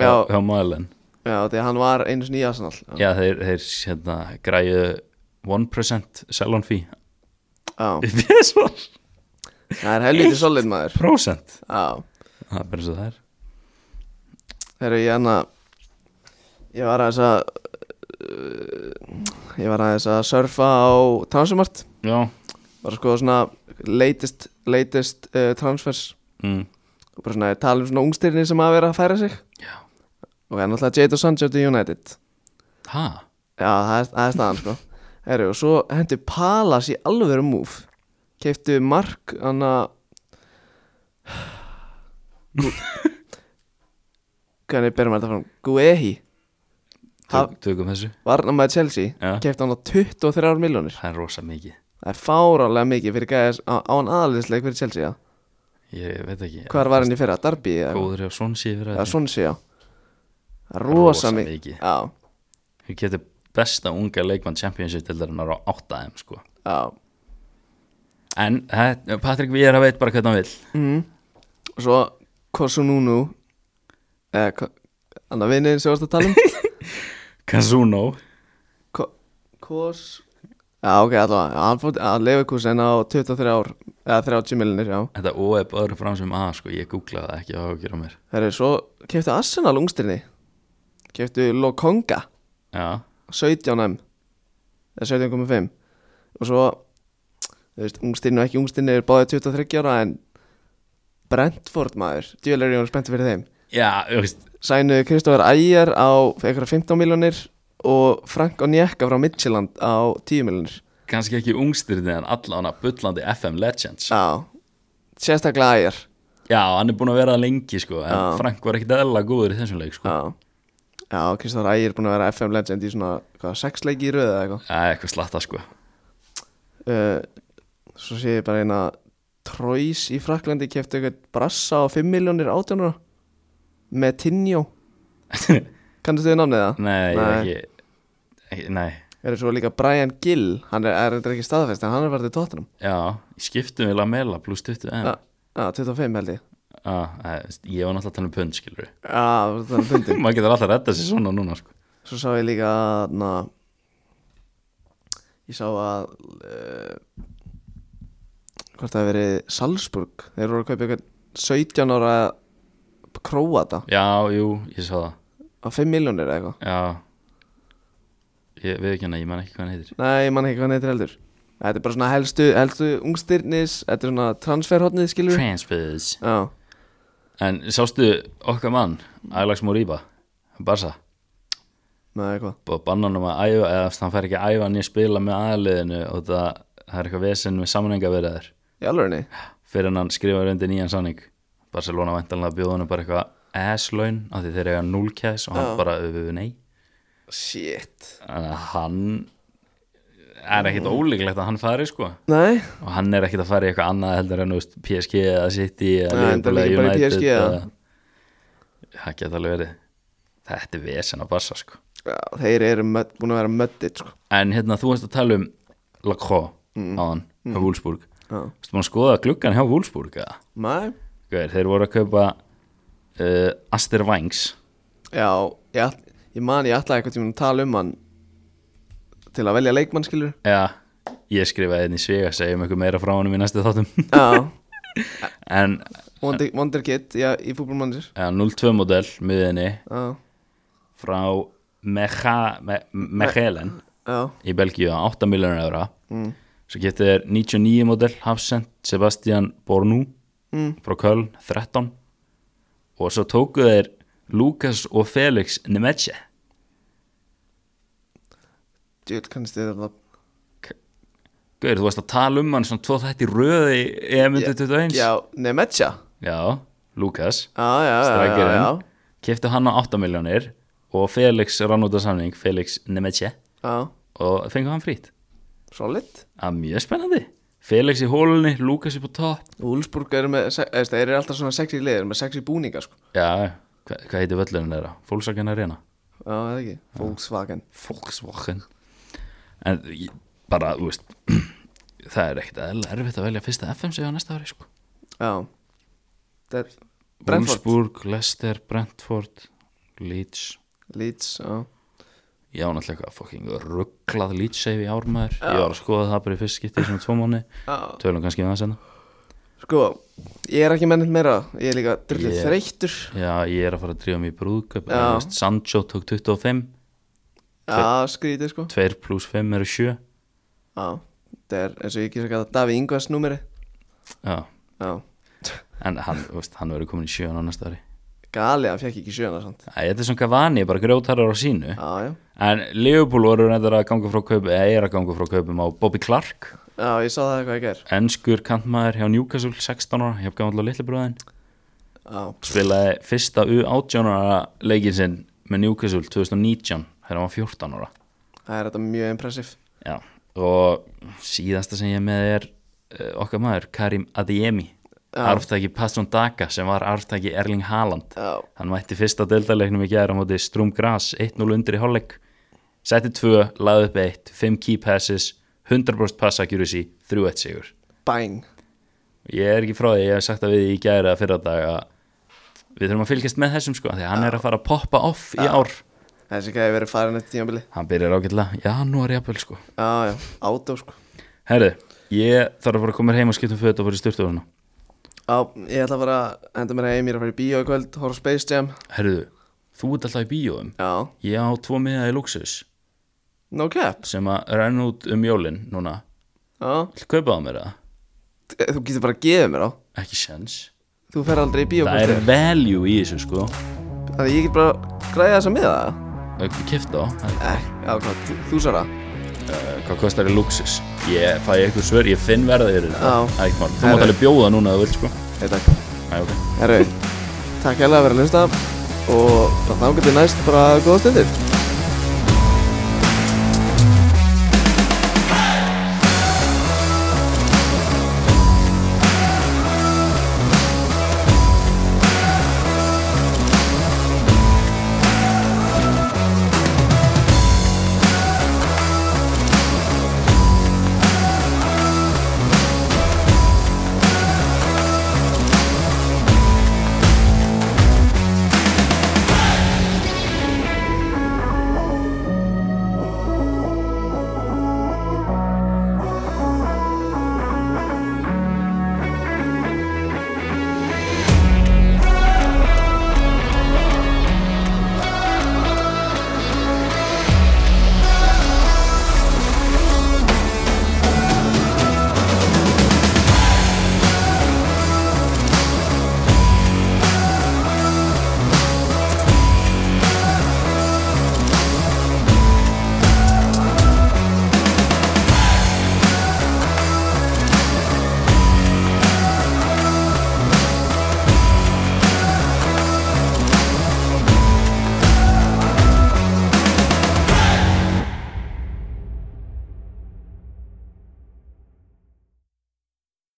Speaker 1: Já.
Speaker 2: Hjá Malen
Speaker 1: Já, því að hann var einu sinni í Arsenal.
Speaker 2: Já, þeir, þeir hérna, græju 1% salon fee
Speaker 1: Já,
Speaker 2: Upp í þessu
Speaker 1: það er helviti solid maður.
Speaker 2: Prósent
Speaker 1: Já.
Speaker 2: Það er bara eins og það er
Speaker 1: Þegar ég hann að Ég var aðeins að Ég var aðeins að surfa á Transfermart
Speaker 2: Já
Speaker 1: Var að skoða svona latest, latest uh, transfers
Speaker 2: mm.
Speaker 1: Og bara svona ég tala um svona ungstyrni sem að vera að færa sig
Speaker 2: Já.
Speaker 1: Og hann alltaf Jadon Sancho til United
Speaker 2: Ha?
Speaker 1: Já, það er, það er staðan sko Heru, Og svo hendi Palace í alvöru múf Keiftu Mark Anna Hvernig berum þetta fram? Guehi Ha-
Speaker 2: Tök, tökum þessu
Speaker 1: Varnamæði Chelsea
Speaker 2: Já.
Speaker 1: kefti hann á 23 miljónir
Speaker 2: Það er rosa mikið
Speaker 1: Það er fárálega mikið fyrir gæðis á, á hann aðalistleik fyrir Chelsea já.
Speaker 2: Ég veit ekki
Speaker 1: Hvar var hann í fyrra? Darby? eða eitthvað?
Speaker 2: Góður hjá Svonsi fyrir
Speaker 1: Já,
Speaker 2: þetta
Speaker 1: svona sé já Það er Rosa
Speaker 2: Rosa
Speaker 1: mikið
Speaker 2: mikið.
Speaker 1: Já,
Speaker 2: Við getum besta unga leikmann championship til þarna á áttaðum sko
Speaker 1: já
Speaker 2: En he- Patrik Víðar veit bara hvernig hann vil
Speaker 1: mm. Og svo Kosununu eh, Anna vinniðin sem varst að tala um
Speaker 2: Kazuno
Speaker 1: Ko- Kos Já, ok, allavega, hann fór að Leverkusen á 23 ár, eða 30 millinir, já.
Speaker 2: Þetta O er bara fram sem A sko, ég googlaði það ekki á ágjur á mér
Speaker 1: Þeir eru svo, keftu Arsenal ungstirni, keftu Lokonga,
Speaker 2: Já,
Speaker 1: 17M, eða 17,5. Og svo, þú veist, ungstirni og ekki ungstirni eru báðið 23 ára, en Brentford maður, djúvel er ég spenntið fyrir þeim.
Speaker 2: já, þú veist
Speaker 1: Sænuðu Kristofar Ægjar á eitthvað 15 miljonir og Frank Onyeka frá Midtjylland á 10 miljonir.
Speaker 2: kannski ekki ungstirni en allan að bullandi FM Legends
Speaker 1: Já, sérstaklega Ægjar.
Speaker 2: Já, hann er búin að vera það lengi sko en
Speaker 1: Já.
Speaker 2: Frank var ekkit eðla góður í þessum leik sko Já,
Speaker 1: Já, já Kristofar Ægir er búin að vera FM legend í svona, hvað, sex leiki í röðu eða eitthvað
Speaker 2: eitthvað slatta sko
Speaker 1: uh, Svo sé ég bara eina Trois í Fraklandi kefti eitthvað brassa á 5 miljónir átjónur með Tinjó Kannastu þið namnið það?
Speaker 2: Nei, ég er
Speaker 1: Nei.
Speaker 2: ekki, ekki Nei,
Speaker 1: Er svo líka Brian Gill, hann er, er þetta ekki staðfest en hann er verið tóttunum
Speaker 2: já, ég skiptum við Lamela pluss 20 en
Speaker 1: Já, já, 25 held ég
Speaker 2: Já, eh, þú veist, ég var náttúrulega að tala um pund skilur
Speaker 1: Já, það var þannig fundin
Speaker 2: Maður getur alltaf að redda sér svona núna sko
Speaker 1: Svo sá ég líka na, Ég sá að uh, Hvort það hafi verið Salzburg Þeir voru að kaupa eitthvað 17 ára Króata
Speaker 2: Já, jú, ég sá það
Speaker 1: á 5 miljónir eða eitthvað
Speaker 2: Já Ég veit ekki hana, ég man ekki hvað hann heitir
Speaker 1: Nei, ég man ekki hvað hann heitir heldur Þetta er bara svona helstu, helstu ungstyrnis Þetta er svona transferhotnið skilur
Speaker 2: Transfers
Speaker 1: Já,
Speaker 2: En sástu okkar mann, Alex Moriba Barsa,
Speaker 1: með eitthvað
Speaker 2: búið að banna hann um að æfa eða þú veist, hann fær ekki að æfa hann í að spila með aðliðinu og það, það er eitthvað vesen með samningaverðar
Speaker 1: Í alvörinni?
Speaker 2: fyrir hann skrifa undir nýjan samning Barcelona væntanlega bjóða hann bara eitthvað ass-laun af því þeir eiga 0 cash og hann
Speaker 1: Já.
Speaker 2: bara öfuðu nei
Speaker 1: Shit
Speaker 2: Þannig að hann er ekkit ólíklegt að hann fari sko
Speaker 1: Nei,
Speaker 2: og hann er ekkit að fara í eitthvað annað heldur en þú veist, PSG eða City eða
Speaker 1: Nei,
Speaker 2: Liverpool
Speaker 1: enda
Speaker 2: eða
Speaker 1: líka bara í
Speaker 2: United
Speaker 1: PSG, eða?
Speaker 2: eða- það geta alveg verið þetta er vesen að passa sko
Speaker 1: Já, þeir eru mödd, búin að vera möddit sko.
Speaker 2: en hérna þú veist að tala um Lacro
Speaker 1: Mm.
Speaker 2: á hann, hjá Wolfsburg
Speaker 1: Já.
Speaker 2: þú veist maður að skoða gluggan hjá Wolfsburg eða?
Speaker 1: Nei
Speaker 2: Gauir, þeir voru að kaupa uh, Aster Vangs
Speaker 1: Já, ég, ætl- ég man ég ætlaði eitthvað tíma að tala um hann til að velja leikmann skilur
Speaker 2: eða ég skrifaði einn í Svega segjum eitthvað meira frá honum í næstu þáttum
Speaker 1: Já,
Speaker 2: en
Speaker 1: Wonder, Wonder Kid já, í fútbolmannir
Speaker 2: ja, 0-2 model miðinni
Speaker 1: Já,
Speaker 2: frá Mecha- Me- Mechelen
Speaker 1: já, Mm.
Speaker 2: í Belgíu á 8 miljonar eura svo getið er 99 model Hafsend Sebastian Bornú
Speaker 1: Mm.
Speaker 2: frá Köln 13 og svo tókuð þeir Lukas og Felix Nemetje
Speaker 1: djúl kannast þið þetta
Speaker 2: Guður, þú varst að tala um hann svona tvo þætti röði í M21
Speaker 1: Já, Nemetja
Speaker 2: já Lukas
Speaker 1: Já, já, já, já, já,
Speaker 2: strækirinn keftu hann á 8 miljonir og Felix rann út af samning Felix Nemetje
Speaker 1: já,
Speaker 2: og fengið hann frýtt
Speaker 1: solid
Speaker 2: Það er mjög spennandi Felix í hólunni, Lukas upp á topp
Speaker 1: Úlsburg eru með, se- eða, þeir eru alltaf svona sexy liðir með sexy búninga sko
Speaker 2: Já, hva, hvað heitir völlurinn þeirra? Volkswagen Arena
Speaker 1: Já, eða ekki, Volkswagen
Speaker 2: Volkswagen En ég- bara, þú veist Það er ekkert eðla erfitt að velja fyrsta FM sig á næsta ári sko.
Speaker 1: Já Þeir, Brentford,
Speaker 2: Wolfsburg, Leicester, Brentford Leeds
Speaker 1: Leeds, já
Speaker 2: Ég á náttúrulega eitthvað fucking rugglað Leeds save í ármaður Ég var að skoða það bara í fyrst skipti sem tvo mánu
Speaker 1: Já.
Speaker 2: Tölum kannski um það senna
Speaker 1: Sko, ég er ekki mennit meira Ég er líka drullið
Speaker 2: Ég-
Speaker 1: þreyttur
Speaker 2: Já, ég er að fara að drífa mig í brúðköp
Speaker 1: Já.
Speaker 2: en, þú veist, Sancho tók 25
Speaker 1: Já, skrítið sko
Speaker 2: 2 pluss 5 eru 7
Speaker 1: Já, þetta er eins og ég kýrst að kalla Daví Ingvars númeri
Speaker 2: Já,
Speaker 1: Já,
Speaker 2: en hann, þú veist, hann verður komin í sjöun á næsta ári
Speaker 1: gali, hann fekk ekki sjöna samt
Speaker 2: Æ, Þetta er svona Cavani, bara grjótarar á sínu
Speaker 1: Já, já,
Speaker 2: En Liverpool voru reyndar að ganga frá kaupum eða er að ganga frá kaupum á Bobby Clark
Speaker 1: já, ég sá það eitthvað ekki er
Speaker 2: ennskur kantmaður hjá Newcastle 16 ára, hjá gamla litlibröðin
Speaker 1: Já,
Speaker 2: spilaði fyrsta U18 ára leikinn sinn með Newcastle 2019 þegar hann var 14 ára
Speaker 1: það er þetta mjög impressiv
Speaker 2: Já. og síðasta sem ég er með er eh, okkar maður, Karim Adiemi
Speaker 1: Já.
Speaker 2: arftæki Passon Daka sem var arftæki Erling Haaland
Speaker 1: Já,
Speaker 2: Hann mætti fyrsta deildalegnum í gæra á móti Strum Gras 1-0 undir í hálfleik Setti 2, laði upp 1, 5 key passes 100% pass accuracy 3-1 sigur
Speaker 1: bæn
Speaker 2: Ég er ekki frá því, ég hef sagt að við í gæra fyrir að dag að við þurfum að fylgjast með þessum sko því að hann er að fara að poppa off í ár
Speaker 1: Þessi gæði verið farin eitt tímabili
Speaker 2: Hann byrjar ágætlega, janúar jafnvel sko
Speaker 1: Já, já, átó sko
Speaker 2: Herðu, ég þarf að fara að koma mér heim og skipta um föt og fara í styrtuðurna
Speaker 1: Já, ég ætla bara að henda mér heim Ég er að fara í bíó í kvöld, horf Space Jam
Speaker 2: Herðu, þú ert alltaf í bíóum
Speaker 1: Já,
Speaker 2: Ég á tvo miða í Luxus
Speaker 1: no cap
Speaker 2: sem að renna út um jólin núna
Speaker 1: Já,
Speaker 2: Viltu kaupa á mér það?
Speaker 1: þú getur bara að gefa mér á
Speaker 2: Ekki sens
Speaker 1: Þú fer aldrei í bíó
Speaker 2: Það er value í þessu sko
Speaker 1: Þannig að ég get bara að græða þessa miða
Speaker 2: Kift á, það
Speaker 1: Nei, já, hvað, þú- þú sara
Speaker 2: Eh, hvað kostar í Luxus? Ég fæ eitthvað svör, ég finn verðið þér
Speaker 1: Já.
Speaker 2: Það er ekki mál, þú
Speaker 1: Herru.
Speaker 2: mátt alveg bjóða núna að þú vilt sko
Speaker 1: Nei, takk
Speaker 2: Æ, ok
Speaker 1: Herru, takk hérlega fyrir að hlusta og þá getur næst bara góða stundir